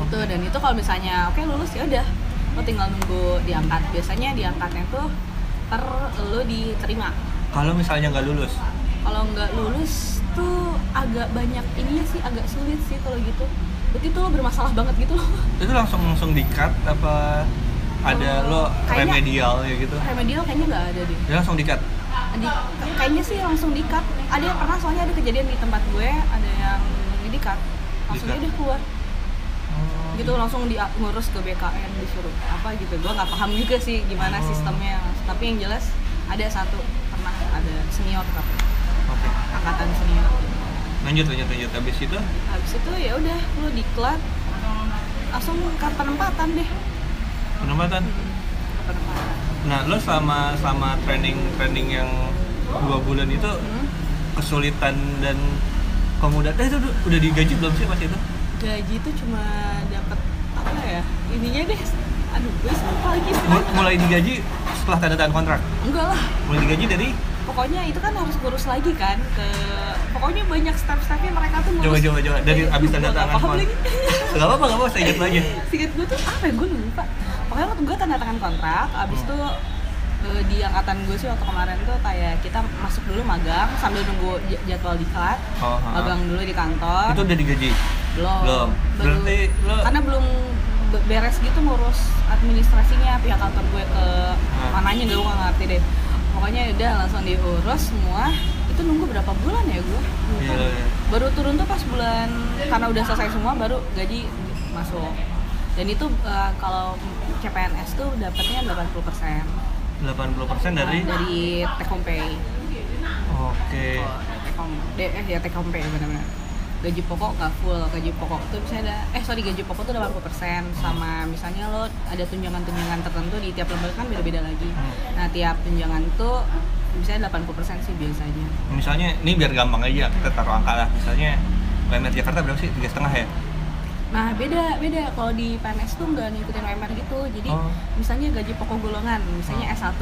Speaker 2: Oh,
Speaker 1: itu dan itu kalau misalnya oke lulus ya udah lo tinggal nunggu diangkat biasanya diangkatnya tuh per lo diterima
Speaker 2: kalau misalnya nggak lulus
Speaker 1: kalau nggak lulus tuh agak banyak ininya sih agak sulit sih kalau gitu berarti tuh lo bermasalah banget gitu loh
Speaker 2: itu langsung langsung di cut apa ada
Speaker 1: Eh,
Speaker 2: lo
Speaker 1: kayaknya- Iya.
Speaker 2: remedial ya gitu
Speaker 1: remedial kayaknya nggak ada deh
Speaker 2: ya langsung di cut
Speaker 1: Di- kayaknya sih langsung di cut ada yang pernah soalnya ada kejadian di tempat gue ada yang di cut langsung
Speaker 2: Di-cut.
Speaker 1: aja dia keluar gitu langsung di ngurus ke BKN disuruh apa gitu gue nggak paham juga sih gimana
Speaker 2: Oh.
Speaker 1: sistemnya tapi yang jelas ada satu pernah ada senior tapi
Speaker 2: oke
Speaker 1: angkatan senior
Speaker 2: lanjut lanjut lanjut habis itu
Speaker 1: habis itu ya udah lu diklat langsung ke penempatan deh
Speaker 2: penempatan
Speaker 1: Hmm. Ke penempatan
Speaker 2: nah lo selama selama training training yang dua bulan itu
Speaker 1: Hmm.
Speaker 2: kesulitan dan kemudahan eh, itu udah- udah digaji belum sih pas itu
Speaker 1: gaji itu cuma dapat apa ya ininya deh aduh gue lupa lagi
Speaker 2: Mu- mulai digaji setelah tanda tangan kontrak
Speaker 1: enggak lah
Speaker 2: mulai digaji dari
Speaker 1: pokoknya itu kan harus ngurus lagi kan ke pokoknya banyak step-stepnya mereka tuh
Speaker 2: coba
Speaker 1: ngurus
Speaker 2: coba coba dari
Speaker 1: Aduh,
Speaker 2: habis
Speaker 1: gua
Speaker 2: tanda
Speaker 1: nggak
Speaker 2: tangan
Speaker 1: paham
Speaker 2: kontrak
Speaker 1: lagi.
Speaker 2: nggak apa apa nggak apa saya ingat lagi
Speaker 1: Singkat gue tuh apa ya? Gue lupa. Pokoknya waktu gue tanda tangan kontrak, abis
Speaker 2: Hmm.
Speaker 1: itu eh, di angkatan gue sih waktu kemarin tuh kayak kita masuk dulu magang sambil nunggu j- jadwal diklat.
Speaker 2: oh, ha.
Speaker 1: Magang dulu di kantor.
Speaker 2: itu udah digaji
Speaker 1: belum.
Speaker 2: belum. Berarti lo-
Speaker 1: Karena belum be- beres gitu ngurus administrasinya pihak kantor gue ke
Speaker 2: Hmm.
Speaker 1: mananya gue nggak ngerti deh. Pokoknya udah langsung diurus semua. Itu nunggu berapa bulan ya gue?
Speaker 2: Iya, iya.
Speaker 1: baru turun tuh pas bulan karena udah selesai semua baru gaji masuk dan itu eh, kalau CPNS tuh dapatnya 80 persen
Speaker 2: 80% dari
Speaker 1: dari take home pay
Speaker 2: Oke.
Speaker 1: Oh, take home de- eh ya take home pay benar-benar gaji pokok nggak full gaji pokok tuh misalnya ada eh sorry gaji pokok tuh 80 persen sama misalnya lo ada tunjangan-tunjangan tertentu di tiap lembaga kan beda-beda lagi
Speaker 2: Hmm.
Speaker 1: nah tiap tunjangan tuh misalnya 80 persen sih biasanya
Speaker 2: Misalnya ini biar gampang aja kita taruh angka lah. Misalnya UMR Jakarta berapa sih? Tiga setengah ya?
Speaker 1: Nah beda beda kalau di PNS tuh nggak ngikutin UMR gitu. Jadi
Speaker 2: Oh.
Speaker 1: misalnya gaji pokok golongan, misalnya
Speaker 2: Oh.
Speaker 1: S1,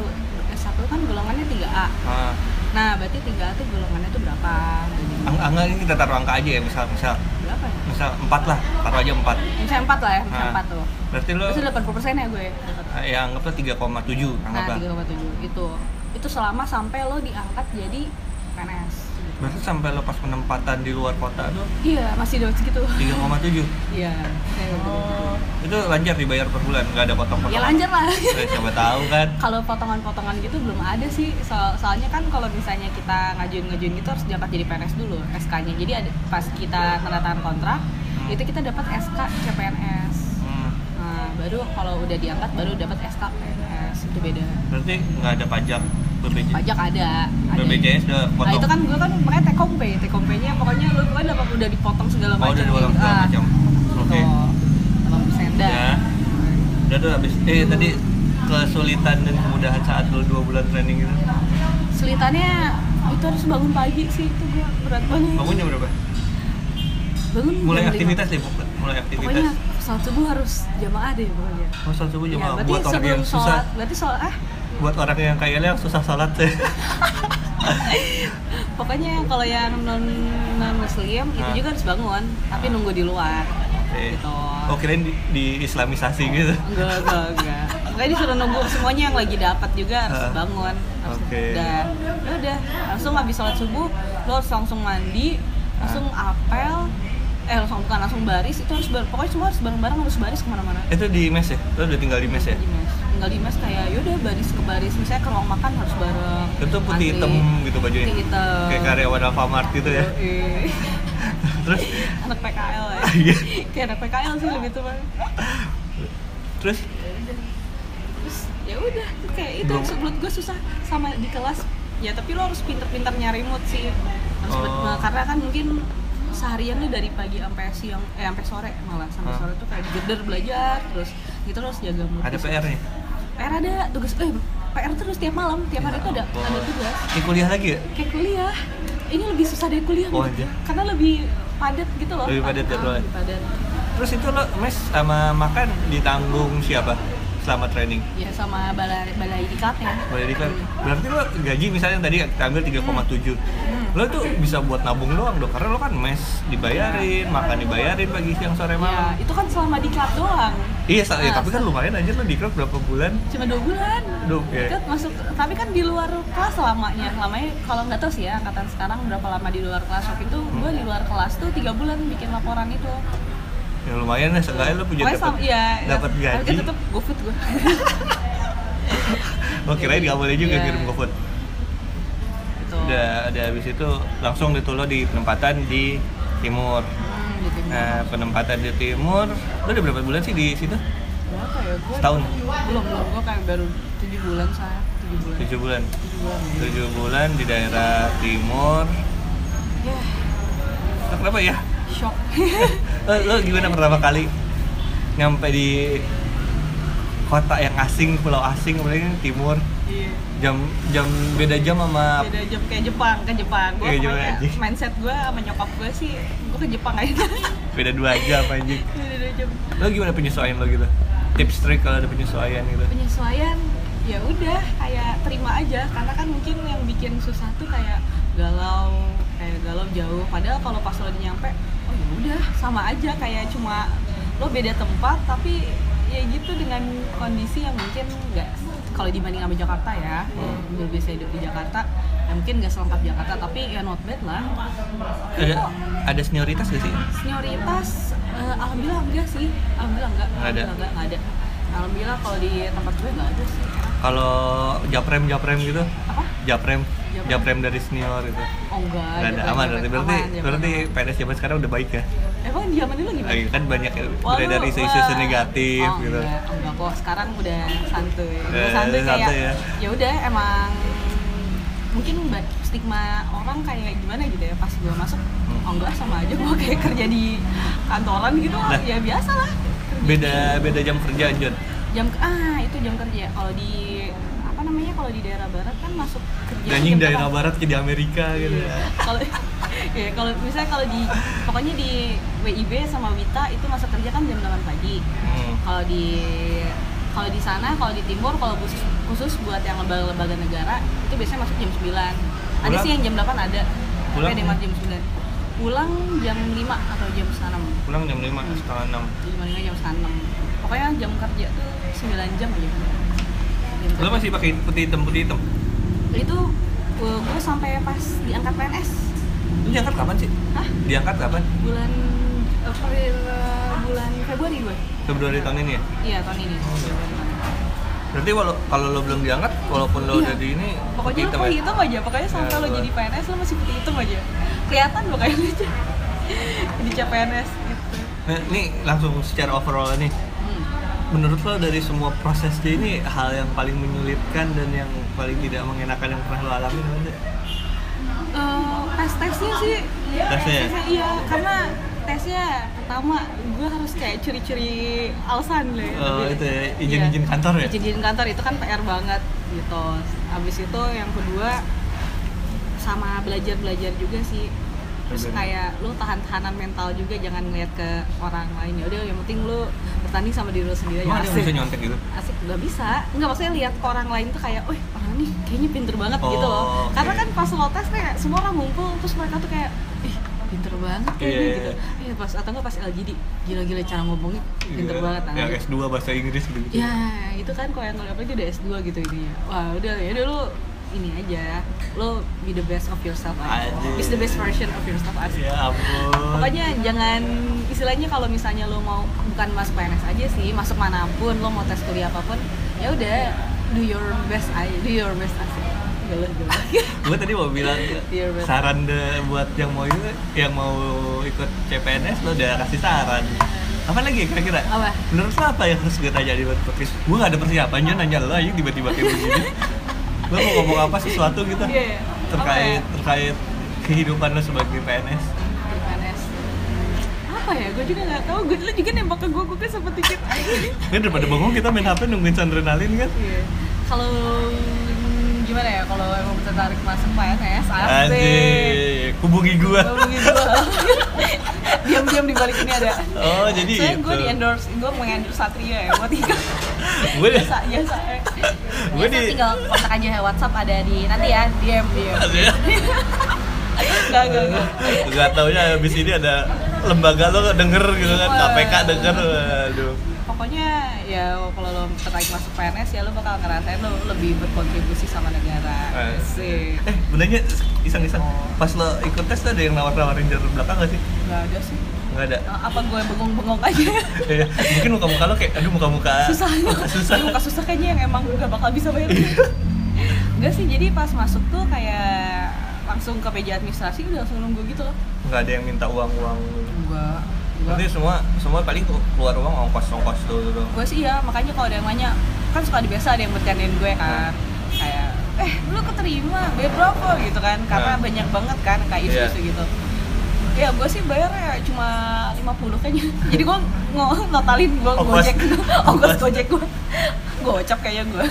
Speaker 1: S1 kan golongannya 3A.
Speaker 2: Ah,
Speaker 1: Nah berarti 3A tuh golongannya tuh berapa? Gaji
Speaker 2: ang- angka ini kita taruh angka aja ya. Misal misal
Speaker 1: berapa ya?
Speaker 2: misal empat lah. Taruh aja empat.
Speaker 1: Misalnya 4 lah ya, misalnya
Speaker 2: Ah.
Speaker 1: 4 tuh.
Speaker 2: Berarti lo
Speaker 1: Itu 80 persen ya gue.
Speaker 2: ya anggaplah 3,7
Speaker 1: Nah
Speaker 2: anggaplah.
Speaker 1: 3,7 itu itu selama sampai lo diangkat jadi PNS.
Speaker 2: Berarti sampai lo pas penempatan di luar kota tuh
Speaker 1: Iya masih dapat segitu.
Speaker 2: 3,7.
Speaker 1: Iya. kayak gitu.
Speaker 2: Itu lancar dibayar per bulan, nggak ada potong-potong.
Speaker 1: Ya lancar lah.
Speaker 2: Eh, siapa tahu kan.
Speaker 1: kalau potongan-potongan gitu belum ada sih so- soalnya kan kalau misalnya kita ngajuin-ngajuin gitu harus dapat jadi PNS dulu SK-nya jadi ada, pas kita tanda tangan kontrak
Speaker 2: Hmm.
Speaker 1: itu kita dapat SK CPNS
Speaker 2: Hmm,
Speaker 1: nah, baru kalau udah diangkat baru dapat SK PNS itu beda
Speaker 2: berarti nggak ada pajak BPJ.
Speaker 1: pajak ada, ada.
Speaker 2: BPJS udah
Speaker 1: Nah
Speaker 2: potong.
Speaker 1: itu kan gue kan makanya take home pay, take home pay-nya pokoknya lu pokoknya dapat udah dipotong segala
Speaker 2: Oh,
Speaker 1: macam.
Speaker 2: udah dipotong
Speaker 1: gitu.
Speaker 2: segala
Speaker 1: Ah,
Speaker 2: macam. Oke.
Speaker 1: Gitu. 8% dah.
Speaker 2: Ya. Udah tuh habis eh tadi kesulitan dan kemudahan saat lu 2 bulan training itu.
Speaker 1: Selitannya oh, itu harus bangun pagi sih itu gue berat banget.
Speaker 2: Bangunnya berapa?
Speaker 1: bangun
Speaker 2: ya? Mulai
Speaker 1: jam lima.
Speaker 2: aktivitas deh, pokoknya. mulai
Speaker 1: pokoknya
Speaker 2: aktivitas.
Speaker 1: sholat subuh harus jamaah deh pokoknya
Speaker 2: Oh, sholat subuh
Speaker 1: ya,
Speaker 2: jamaah
Speaker 1: berarti
Speaker 2: buat orang
Speaker 1: sebelum
Speaker 2: yang susah,
Speaker 1: sholat berarti sholat ah
Speaker 2: buat orang yang kayaknya susah sholat Eh, deh.
Speaker 1: pokoknya kalau yang non non muslim itu
Speaker 2: Ah.
Speaker 1: juga harus bangun tapi
Speaker 2: Ah.
Speaker 1: nunggu di luar
Speaker 2: Oke.
Speaker 1: gitu
Speaker 2: Oh, kirain di, di islamisasi gitu.
Speaker 1: enggak enggak enggak enggak disuruh nunggu semuanya yang lagi dapat juga harus
Speaker 2: Ah.
Speaker 1: bangun harus
Speaker 2: Oke.
Speaker 1: dan ya udah langsung habis sholat subuh lo harus langsung mandi langsung apel eh langsung bukan langsung baris itu harus bar- pokoknya semua harus bareng-bareng harus baris kemana-mana
Speaker 2: Itu di mes ya? Lo udah tinggal di mes ya?
Speaker 1: di mes tinggal di mes kayak yaudah baris ke baris misalnya ke ruang makan harus bareng
Speaker 2: Itu
Speaker 1: Antri.
Speaker 2: putih hitam gitu bajunya.
Speaker 1: putih hitam
Speaker 2: Kayak karyawan Alfamart gitu ya.
Speaker 1: Yoi.
Speaker 2: Terus
Speaker 1: anak PKL ya
Speaker 2: Iya.
Speaker 1: kayak anak PKL sih lebih tuh Bang.
Speaker 2: terus
Speaker 1: terus ya udah kayak itu
Speaker 2: Belum-
Speaker 1: menurut gue susah sama di kelas ya tapi lo harus pinter-pinter nyari mood sih harus
Speaker 2: Oh.
Speaker 1: bet- karena kan mungkin seharian lu dari pagi sampai siang eh sampai sore malah sampai
Speaker 2: Hah?
Speaker 1: sore tuh kayak digeder belajar terus gitu lo harus jaga mood di
Speaker 2: ada
Speaker 1: situ.
Speaker 2: PR-nya.
Speaker 1: PR ada tugas eh PR terus tiap malam tiap hari itu ada
Speaker 2: ampun.
Speaker 1: ada tugas
Speaker 2: Ini kuliah lagi ya?
Speaker 1: kayak kuliah ini lebih susah dari kuliah
Speaker 2: Oh,
Speaker 1: menurut
Speaker 2: iya.
Speaker 1: gue. karena lebih padat gitu loh
Speaker 2: Lebih padat ya,
Speaker 1: Ah,
Speaker 2: jadwalnya.
Speaker 1: lebih padat
Speaker 2: Terus itu lo mes sama makan ditanggung siapa selama training?
Speaker 1: ya sama balai balai ya. ikatnya
Speaker 2: Boleh diklar. Berarti lo gaji misalnya tadi kita ambil 3,7
Speaker 1: Hmm.
Speaker 2: Lo tuh bisa buat nabung doang dong Karena lo kan mes
Speaker 1: Iya.
Speaker 2: dibayarin, makan dibayarin pagi siang
Speaker 1: ya
Speaker 2: sore malam
Speaker 1: itu kan selama di klub doang
Speaker 2: Iya, sa- ya,
Speaker 1: Ah,
Speaker 2: tapi kan lumayan aja lo diklat berapa bulan
Speaker 1: cuma dua bulan
Speaker 2: Duh, ya.
Speaker 1: Ikut masuk tapi kan di luar kelas lamanya lamanya kalau nggak tahu sih ya angkatan sekarang berapa lama di luar kelas waktu itu gue di luar kelas tuh tiga bulan bikin laporan itu
Speaker 2: Ya lumayan lah, seenggaknya lo punya
Speaker 1: Pokoknya
Speaker 2: dapat
Speaker 1: sama- iya, iya.
Speaker 2: dapat
Speaker 1: Tapi
Speaker 2: gaji
Speaker 1: kan tetep gofood gue
Speaker 2: Lo Oh, kirain nggak boleh juga
Speaker 1: Iya.
Speaker 2: kirim GoFood
Speaker 1: gitu.
Speaker 2: Udah, udah habis itu langsung itu lo di penempatan di timur
Speaker 1: hmm, gitu.
Speaker 2: Nah, penempatan di timur, lo udah berapa bulan sih di situ?
Speaker 1: berapa ya gue
Speaker 2: Setahun?
Speaker 1: belum belum gue kayak baru tujuh bulan saya tujuh bulan
Speaker 2: 7 bulan
Speaker 1: tujuh bulan
Speaker 2: 7 bulan di daerah timur
Speaker 1: ya
Speaker 2: Lo kenapa ya?
Speaker 1: shock
Speaker 2: Lo, lo gimana pertama kali nyampe di kota yang asing, pulau asing, kemudian ini timur
Speaker 1: iya
Speaker 2: jam jam beda jam sama
Speaker 1: beda jam kayak Jepang ke Jepang gue
Speaker 2: Kayak Iya, Jepang,
Speaker 1: pokoknya
Speaker 2: anjing.
Speaker 1: mindset gue sama nyokap gue sih gue ke Jepang aja
Speaker 2: beda dua jam anjing
Speaker 1: beda dua jam
Speaker 2: lo gimana penyesuaian lo gitu tips trik kalau ada penyesuaian gitu
Speaker 1: penyesuaian ya udah kayak terima aja karena kan mungkin yang bikin susah tuh kayak galau kayak galau jauh padahal kalau pas lo udah nyampe oh ya udah sama aja kayak cuma lo beda tempat tapi ya gitu dengan kondisi yang mungkin nggak kalau dibanding sama Jakarta ya
Speaker 2: Hmm.
Speaker 1: udah biasa hidup di Jakarta ya mungkin nggak selengkap Jakarta tapi ya not bad lah
Speaker 2: ada ada senioritas gak sih
Speaker 1: senioritas eh, alhamdulillah enggak sih alhamdulillah enggak
Speaker 2: Nggak ada.
Speaker 1: alhamdulillah enggak, enggak ada alhamdulillah kalau di tempat gue enggak ada sih
Speaker 2: kalau japrem japrem gitu
Speaker 1: apa
Speaker 2: japrem
Speaker 1: Japrem.
Speaker 2: japrem dari senior gitu
Speaker 1: Oh enggak.
Speaker 2: Gak ada
Speaker 1: zaman-
Speaker 2: aman berarti berarti
Speaker 1: aman, zaman-
Speaker 2: berarti PNS zaman sekarang udah baik ya.
Speaker 1: Emang zaman dulu gimana?
Speaker 2: Lagi kan banyak yang
Speaker 1: Wah, lu-
Speaker 2: beredar isu isu
Speaker 1: wah.
Speaker 2: negatif
Speaker 1: oh,
Speaker 2: gitu.
Speaker 1: enggak, enggak kok sekarang udah santuy udah
Speaker 2: Eh,
Speaker 1: santuy kayak
Speaker 2: santuy ya.
Speaker 1: ya udah emang mungkin ba- stigma orang kayak gimana gitu ya pas gue masuk
Speaker 2: Hmm.
Speaker 1: oh enggak sama aja gue kayak kerja di kantoran gitu
Speaker 2: Nah.
Speaker 1: ya biasa lah
Speaker 2: Beda beda jam kerja Jon.
Speaker 1: jam ke- ah itu jam kerja kalau di apa namanya kalau di daerah barat kan masuk kerja
Speaker 2: Anjing
Speaker 1: jam
Speaker 2: daerah
Speaker 1: berapa?
Speaker 2: barat ke di Amerika gitu.
Speaker 1: Iya. kalau ya kalau misalnya kalau di pokoknya di WIB sama Wita itu masuk kerja kan jam 8 pagi
Speaker 2: Hmm.
Speaker 1: kalau di kalau di sana kalau di timur kalau khusus khusus buat yang lembaga-lembaga negara itu biasanya masuk jam 9 ada
Speaker 2: Pulang?
Speaker 1: sih yang jam 8 ada tapi
Speaker 2: Pulang? ya?
Speaker 1: ada yang masuk jam 9 pulang jam 5 atau jam setengah
Speaker 2: Pulang jam lima setengah enam.
Speaker 1: 6 jam 5 jam setengah 6 pokoknya jam kerja tuh 9 jam aja Jam
Speaker 2: Lo
Speaker 1: kerja.
Speaker 2: masih pakai putih hitam putih hitam.
Speaker 1: itu gue sampai pas diangkat PNS
Speaker 2: Lo diangkat kapan sih?
Speaker 1: hah
Speaker 2: Diangkat kapan?
Speaker 1: bulan April bulan Februari gue
Speaker 2: Februari tahun ini ya.
Speaker 1: iya tahun ini
Speaker 2: Berarti walau- kalau lo belum diangkat, walaupun lo
Speaker 1: Iya.
Speaker 2: udah di ini,
Speaker 1: pokoknya lo
Speaker 2: hitam
Speaker 1: putih
Speaker 2: ya?
Speaker 1: hitam aja pokoknya sampai
Speaker 2: Ya,
Speaker 1: lo
Speaker 2: gua-
Speaker 1: jadi PNS lo masih putih hitam aja kelihatan pokoknya lo jadi- jadi cap PNS gitu
Speaker 2: Nah, ini langsung secara overall nih.
Speaker 1: hmm.
Speaker 2: Menurut lo dari semua prosesnya ini hal yang paling menyulitkan dan yang paling tidak mengenakan yang pernah lo alami ada?
Speaker 1: Eh, tes tesnya sih
Speaker 2: Tesnya?
Speaker 1: iya karena tesnya pertama gue harus kayak curi-curi alasan lah ya,
Speaker 2: Oh,
Speaker 1: tapi-
Speaker 2: itu ya, izin-izin
Speaker 1: Iya.
Speaker 2: kantor ya?
Speaker 1: izin-izin kantor itu kan PR banget gitu abis itu yang kedua sama belajar-belajar juga sih terus
Speaker 2: Belajar.
Speaker 1: kayak lu tahan-tahanan mental juga jangan ngeliat ke orang lain ya udah yang penting lu bertanding sama diri lu sendiri
Speaker 2: Emang
Speaker 1: aja
Speaker 2: ada yang bisa nyontek gitu?
Speaker 1: ya, asik nggak bisa nggak maksudnya lihat ke orang lain tuh kayak, wih orang nih kayaknya pinter banget
Speaker 2: Oh,
Speaker 1: gitu loh
Speaker 2: oke.
Speaker 1: karena kan pas lo tes kayak semua orang ngumpul terus mereka tuh kayak ih pinter banget kayaknya
Speaker 2: Iya, iya,
Speaker 1: gitu
Speaker 2: iya.
Speaker 1: eh, pas atau nggak pas LGD gila-gila cara ngomongnya pinter
Speaker 2: Iya.
Speaker 1: banget
Speaker 2: Yang
Speaker 1: anjir.
Speaker 2: S2 bahasa Inggris gitu.
Speaker 1: ya itu kan kalau yang apa itu udah S2 gitu ini wah udah ya udah lo ini aja lo be the best of yourself aja
Speaker 2: Anjir.
Speaker 1: be the best version of yourself aja
Speaker 2: Ya ampun.
Speaker 1: Pokoknya jangan istilahnya kalau misalnya lo mau bukan masuk PNS aja sih, masuk manapun lo mau tes kuliah apapun, ya udah do your best aja, do your best aja. Galah, galah.
Speaker 2: gue tadi mau bilang
Speaker 1: Iya, betul.
Speaker 2: saran de, buat yang mau itu, yang mau ikut CPNS lo udah kasih saran apa lagi ya kira-kira?
Speaker 1: Apa?
Speaker 2: Menurut lo apa yang harus gue tanya di buat podcast? Gue gak ada persiapannya nanya lo aja tiba-tiba kayak begini Lo mau ngomong apa sesuatu gitu?
Speaker 1: Iya, iya. Apa
Speaker 2: Terkait,
Speaker 1: ya?
Speaker 2: terkait kehidupan lo sebagai PNS
Speaker 1: Di PNS. Apa ya? Gue juga nggak tahu. Gue lo juga nembak ke gue, gue kan sempet dikit.
Speaker 2: Kan daripada bengong kita main HP nungguin adrenalin kan?
Speaker 1: Iya. Kalau gimana ya? Kalau emang tertarik masuk PNS, asik.
Speaker 2: Anjir, hubungi gue
Speaker 1: Ngomongin gua. Diam-diam di balik ini ada.
Speaker 2: Oh jadi
Speaker 1: Soalnya gue
Speaker 2: itu.
Speaker 1: di endorse, gue mengendorse Satria ya buat ikut.
Speaker 2: Gue di
Speaker 1: biasa biasa eh.
Speaker 2: Gua
Speaker 1: Biasa
Speaker 2: di-
Speaker 1: tinggal kontak aja ya, WhatsApp ada di nanti ya DM DM enggak enggak enggak
Speaker 2: Gak taunya habis ini ada lembaga lo denger gitu kan,
Speaker 1: Wah.
Speaker 2: KPK denger, aduh.
Speaker 1: pokoknya ya kalau lo tertarik masuk PNS ya lo bakal ngerasain lo lebih berkontribusi sama negara
Speaker 2: Eh.
Speaker 1: sih
Speaker 2: Eh, benarnya iseng-iseng. Pas lo ikut tes tuh ada yang nawar-nawarin jalur belakang gak sih?
Speaker 1: enggak ada sih
Speaker 2: Gak ada.
Speaker 1: Eh, apa gue bengong-bengong aja
Speaker 2: Iya, mungkin muka-muka lo kayak, aduh muka-muka
Speaker 1: susah
Speaker 2: susah. Iya.
Speaker 1: muka susah kayaknya yang emang gak bakal bisa bayar enggak sih jadi pas masuk tuh kayak langsung ke PJ administrasi udah langsung nunggu gitu loh
Speaker 2: Gak ada yang minta uang-uang.
Speaker 1: enggak
Speaker 2: Nanti semua semua paling keluar uang ongkos-ongkos dulu tuh.
Speaker 1: gue sih ya makanya kalau ada yang nanya kan suka ada biasa ada yang bercandain gue
Speaker 2: Nah.
Speaker 1: kan kayak eh lu keterima bayar berapa gitu kan karena
Speaker 2: Nah.
Speaker 1: banyak banget kan kayak isu
Speaker 2: Iya.
Speaker 1: gitu ya gue sih bayarnya cuma 50 kayaknya jadi gue ngo- notalin gue
Speaker 2: Ongkos.
Speaker 1: gojek ongkos
Speaker 2: Ongkos. Nah,
Speaker 1: gojek gue gocap kayaknya gue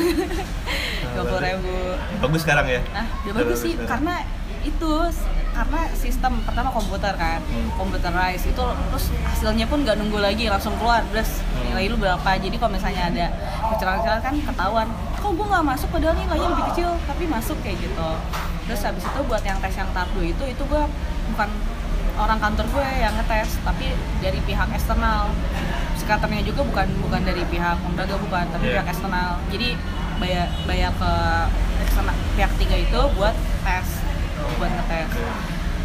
Speaker 1: dua puluh ribu
Speaker 2: Bagus sekarang ya?
Speaker 1: Nah, udah bagus sih karena itu s- karena sistem pertama komputer kan,
Speaker 2: Hmm.
Speaker 1: computerized itu terus hasilnya pun nggak nunggu lagi langsung keluar terus
Speaker 2: Hmm.
Speaker 1: nilai lu berapa. Jadi kalau misalnya ada kecelakaan kan ketahuan. Kok gue nggak masuk padahal nilainya lebih kecil tapi masuk kayak gitu. Terus habis itu buat yang tes yang tardu itu itu gue bukan orang kantor gue yang ngetes tapi dari pihak eksternal psikaternya juga bukan bukan dari pihak lembaga bukan tapi
Speaker 2: Iya.
Speaker 1: pihak eksternal jadi bayar bayar ke eksternal pihak tiga itu buat tes buat ngetes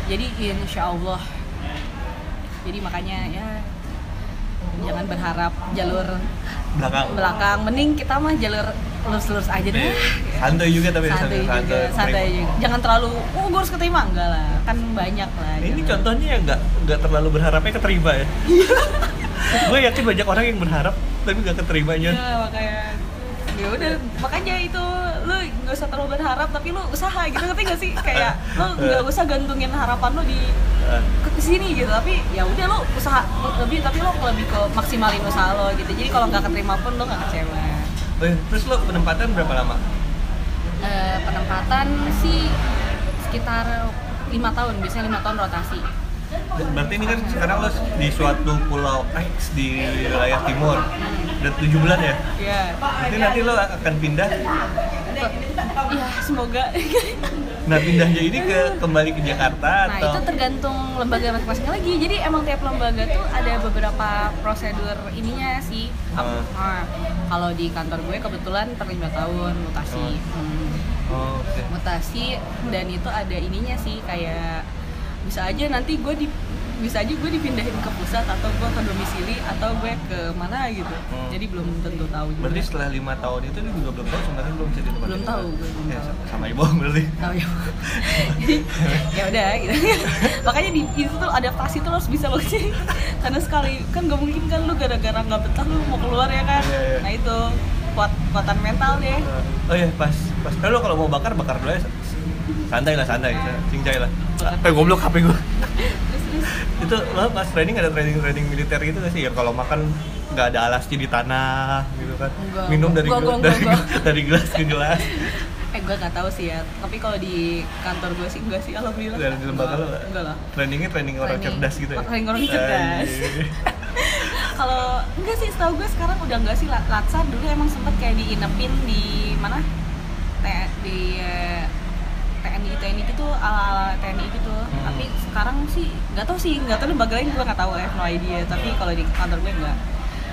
Speaker 1: jadi insya Allah jadi makanya ya jangan berharap jalur
Speaker 2: belakang Iya,
Speaker 1: belakang mending kita mah jalur lurus-lurus aja deh
Speaker 2: santai juga tapi ya,
Speaker 1: santai juga santai juga jangan terlalu oh gue harus keterima enggak lah kan banyak lah
Speaker 2: Nah, ini
Speaker 1: jangan.
Speaker 2: contohnya yang nggak nggak terlalu berharapnya keterima ya
Speaker 1: Iya.
Speaker 2: gue yakin banyak orang yang berharap tapi nggak keterimanya
Speaker 1: ya makanya ya udah makanya itu lu nggak usah terlalu berharap tapi lu usaha gitu ngerti gak sih kayak lu nggak usah gantungin harapan lu di
Speaker 2: Eh,
Speaker 1: ke sini gitu tapi ya udah lu usaha lebih tapi lu lebih ke maksimalin usaha lo gitu jadi kalau nggak keterima pun lu nggak kecewa
Speaker 2: eh, terus lo penempatan berapa lama
Speaker 1: Eh, penempatan sih sekitar lima tahun biasanya lima tahun rotasi
Speaker 2: berarti ini kan sekarang lo di suatu pulau X di wilayah timur udah tujuh bulan ya
Speaker 1: ya
Speaker 2: berarti nanti lo akan pindah
Speaker 1: ya semoga
Speaker 2: nah pindahnya ini ke kembali ke Jakarta
Speaker 1: Nah,
Speaker 2: atau
Speaker 1: itu tergantung lembaga masing-masing lagi. Jadi emang tiap lembaga tuh ada beberapa prosedur ininya sih. Ap-
Speaker 2: Hmm.
Speaker 1: ah, kalau di kantor gue kebetulan per lima tahun mutasi. Hmm,
Speaker 2: Oh, oke.
Speaker 1: Mutasi dan itu ada ininya sih kayak bisa aja nanti gue di bisa aja gue dipindahin ke pusat atau gue ke domisili atau gue ke mana gitu.
Speaker 2: Hmm.
Speaker 1: Jadi belum tentu tahu juga.
Speaker 2: berarti setelah lima tahun itu dia juga belum tahu sebenarnya belum bisa ditempatin
Speaker 1: Belum tahu, gue belum
Speaker 2: ya,
Speaker 1: tahu.
Speaker 2: sama- sama ibu berarti
Speaker 1: tahu ya ya udah gitu makanya di itu tuh adaptasi tuh lo harus bisa lo sih karena sekali kan gak mungkin kan lu gara-gara nggak betah lu mau keluar ya kan
Speaker 2: Iya, iya.
Speaker 1: nah itu kuat kuatan mental deh
Speaker 2: oh iya pas pas eh, lo kalau mau bakar bakar dulu aja santai lah santai cincai lah
Speaker 1: Bakar.
Speaker 2: eh goblok HP gue
Speaker 1: terus terus
Speaker 2: itu lo pas training ada training training militer gitu gak sih ya kalau makan nggak ada alasnya di tanah gitu kan
Speaker 1: Enggak,
Speaker 2: minum
Speaker 1: enggak.
Speaker 2: dari
Speaker 1: Enggak,
Speaker 2: gel-
Speaker 1: enggak,
Speaker 2: dari
Speaker 1: enggak.
Speaker 2: dari gelas ke gelas
Speaker 1: eh gue nggak tahu sih ya tapi kalau di kantor gue sih enggak sih alhamdulillah
Speaker 2: dari di lembaga lo
Speaker 1: Enggak, enggak lah
Speaker 2: trainingnya training orang
Speaker 1: Training.
Speaker 2: cerdas gitu ya iya.
Speaker 1: Training orang cerdas.
Speaker 2: Anjir.
Speaker 1: kalau enggak sih setahu gue sekarang udah enggak sih Lat- latsar dulu emang sempet kayak diinepin di mana T- di eh, TNI TNI gitu ala ala TNI gitu
Speaker 2: Hmm.
Speaker 1: tapi sekarang sih nggak tahu sih nggak tahu lembaga lain gue nggak tahu I have no idea tapi kalau di kantor gue enggak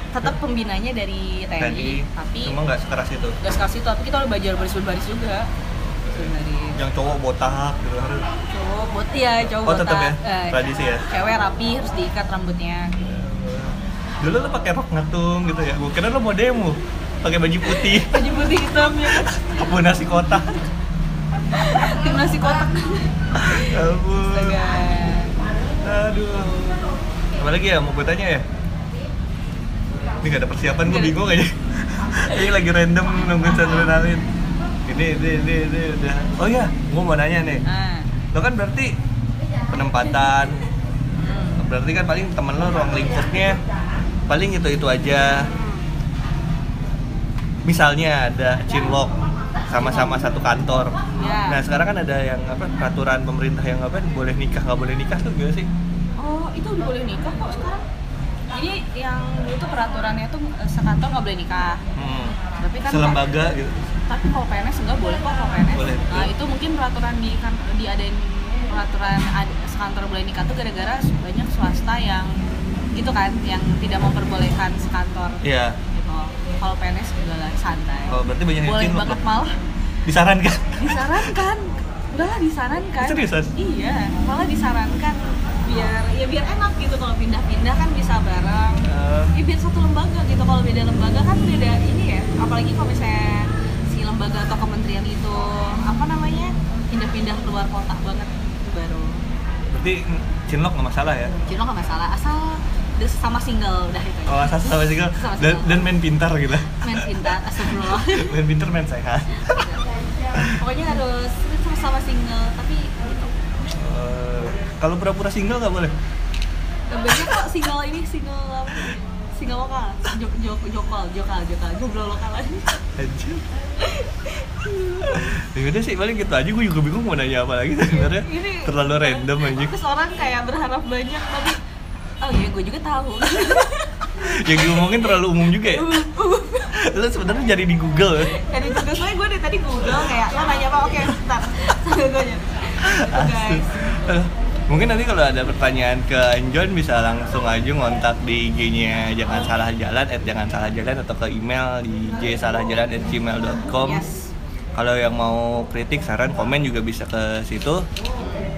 Speaker 1: tetap pembinanya dari TNI,
Speaker 2: tadi
Speaker 1: tapi
Speaker 2: cuma nggak sekeras itu
Speaker 1: nggak sekelas itu tapi kita udah belajar baris baris juga sebenarnya
Speaker 2: yang cowok botak gitu harus
Speaker 1: cowok buat ya cowok
Speaker 2: Oh, tetap
Speaker 1: botak.
Speaker 2: ya?
Speaker 1: Eh,
Speaker 2: Tradisi ya?
Speaker 1: cewek rapi harus diikat rambutnya
Speaker 2: dulu lo pakai rok ngatung gitu ya gue kira lo mau demo pakai baju putih
Speaker 1: baju putih ya hitamnya
Speaker 2: abu nasi kotak
Speaker 1: tim nasi kotak
Speaker 2: ampun
Speaker 1: Astaga.
Speaker 2: aduh apa lagi ya mau gue tanya ya ini gak ada persiapan gue bingung aja ini lagi random nungguin adrenalin ini ini ini ini udah oh ya gue mau nanya nih
Speaker 1: Ah.
Speaker 2: lo kan berarti penempatan
Speaker 1: Hmm.
Speaker 2: berarti kan paling temen lo ruang lingkupnya paling itu itu aja misalnya ada cinlok sama-sama satu kantor
Speaker 1: Ya.
Speaker 2: nah sekarang kan ada yang apa peraturan pemerintah yang apa boleh nikah nggak boleh nikah tuh gak sih
Speaker 1: Oh, itu udah boleh nikah kok sekarang. Jadi yang dulu tuh peraturannya tuh eh, sekantor nggak boleh nikah.
Speaker 2: Hmm.
Speaker 1: Tapi kan
Speaker 2: selembaga gitu
Speaker 1: tapi kalau PNS enggak boleh kok kalau PNS.
Speaker 2: Boleh,
Speaker 1: Nah,
Speaker 2: betul.
Speaker 1: itu mungkin peraturan di kan diadain peraturan ad- sekantor boleh nikah tuh gara-gara banyak swasta yang gitu kan yang tidak memperbolehkan sekantor
Speaker 2: ya
Speaker 1: gitu. Kalau PNS udah lah santai.
Speaker 2: oh, berarti banyak yang
Speaker 1: boleh
Speaker 2: cinlok
Speaker 1: banget
Speaker 2: dong.
Speaker 1: malah
Speaker 2: disarankan
Speaker 1: disarankan udahlah disarankan
Speaker 2: Seriusan?
Speaker 1: iya malah disarankan biar ya biar enak gitu kalau pindah-pindah kan bisa bareng
Speaker 2: Eh,
Speaker 1: ya biar satu lembaga gitu kalau beda lembaga kan beda ini ya apalagi kalau misalnya si lembaga atau kementerian itu apa namanya pindah-pindah keluar kota banget itu baru
Speaker 2: berarti cinlok nggak masalah ya
Speaker 1: jadi lo nggak masalah asal udah sama single udah itu
Speaker 2: oh
Speaker 1: aja
Speaker 2: asal sama single
Speaker 1: Sama single.
Speaker 2: dan, dan main pintar gitu
Speaker 1: main pintar astagfirullah
Speaker 2: main pintar main sehat
Speaker 1: pokoknya harus sama-sama single tapi gitu
Speaker 2: Eh, kalau pura-pura single nggak boleh
Speaker 1: Banyak kok single ini single apa? Single lokal, jok jok jokal, jokal, jokal, jomblo lokal aja.
Speaker 2: Anjir. ya udah sih paling gitu aja gue juga bingung mau nanya apa lagi sebenarnya
Speaker 1: Ini-
Speaker 2: terlalu random aja
Speaker 1: Terus orang kayak berharap banyak tapi oh iya gue juga tahu.
Speaker 2: yang diomongin terlalu umum juga ya lo sebenarnya jadi di Google ya
Speaker 1: Dan itu juga soalnya gue dari tadi Google kayak lo nanya apa oke bentar. Sambil gue nyari. Tuh,
Speaker 2: Asli.
Speaker 1: guys.
Speaker 2: Eh, mungkin nanti kalau ada pertanyaan ke Anjon bisa langsung aja ngontak di IG-nya jangan salah jalan at jangan salah jalan atau ke email di jsalahjalan@gmail.com
Speaker 1: Yes.
Speaker 2: kalau yang mau kritik saran komen juga bisa ke situ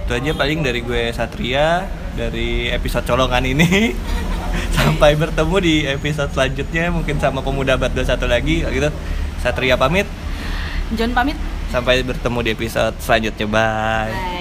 Speaker 2: itu aja paling dari gue Satria dari episode colongan ini Sampai bertemu di episode selanjutnya mungkin sama pemuda abad 21 lagi kalau gitu. Satria pamit.
Speaker 1: John pamit.
Speaker 2: Sampai bertemu di episode selanjutnya. Bye.
Speaker 1: Bye.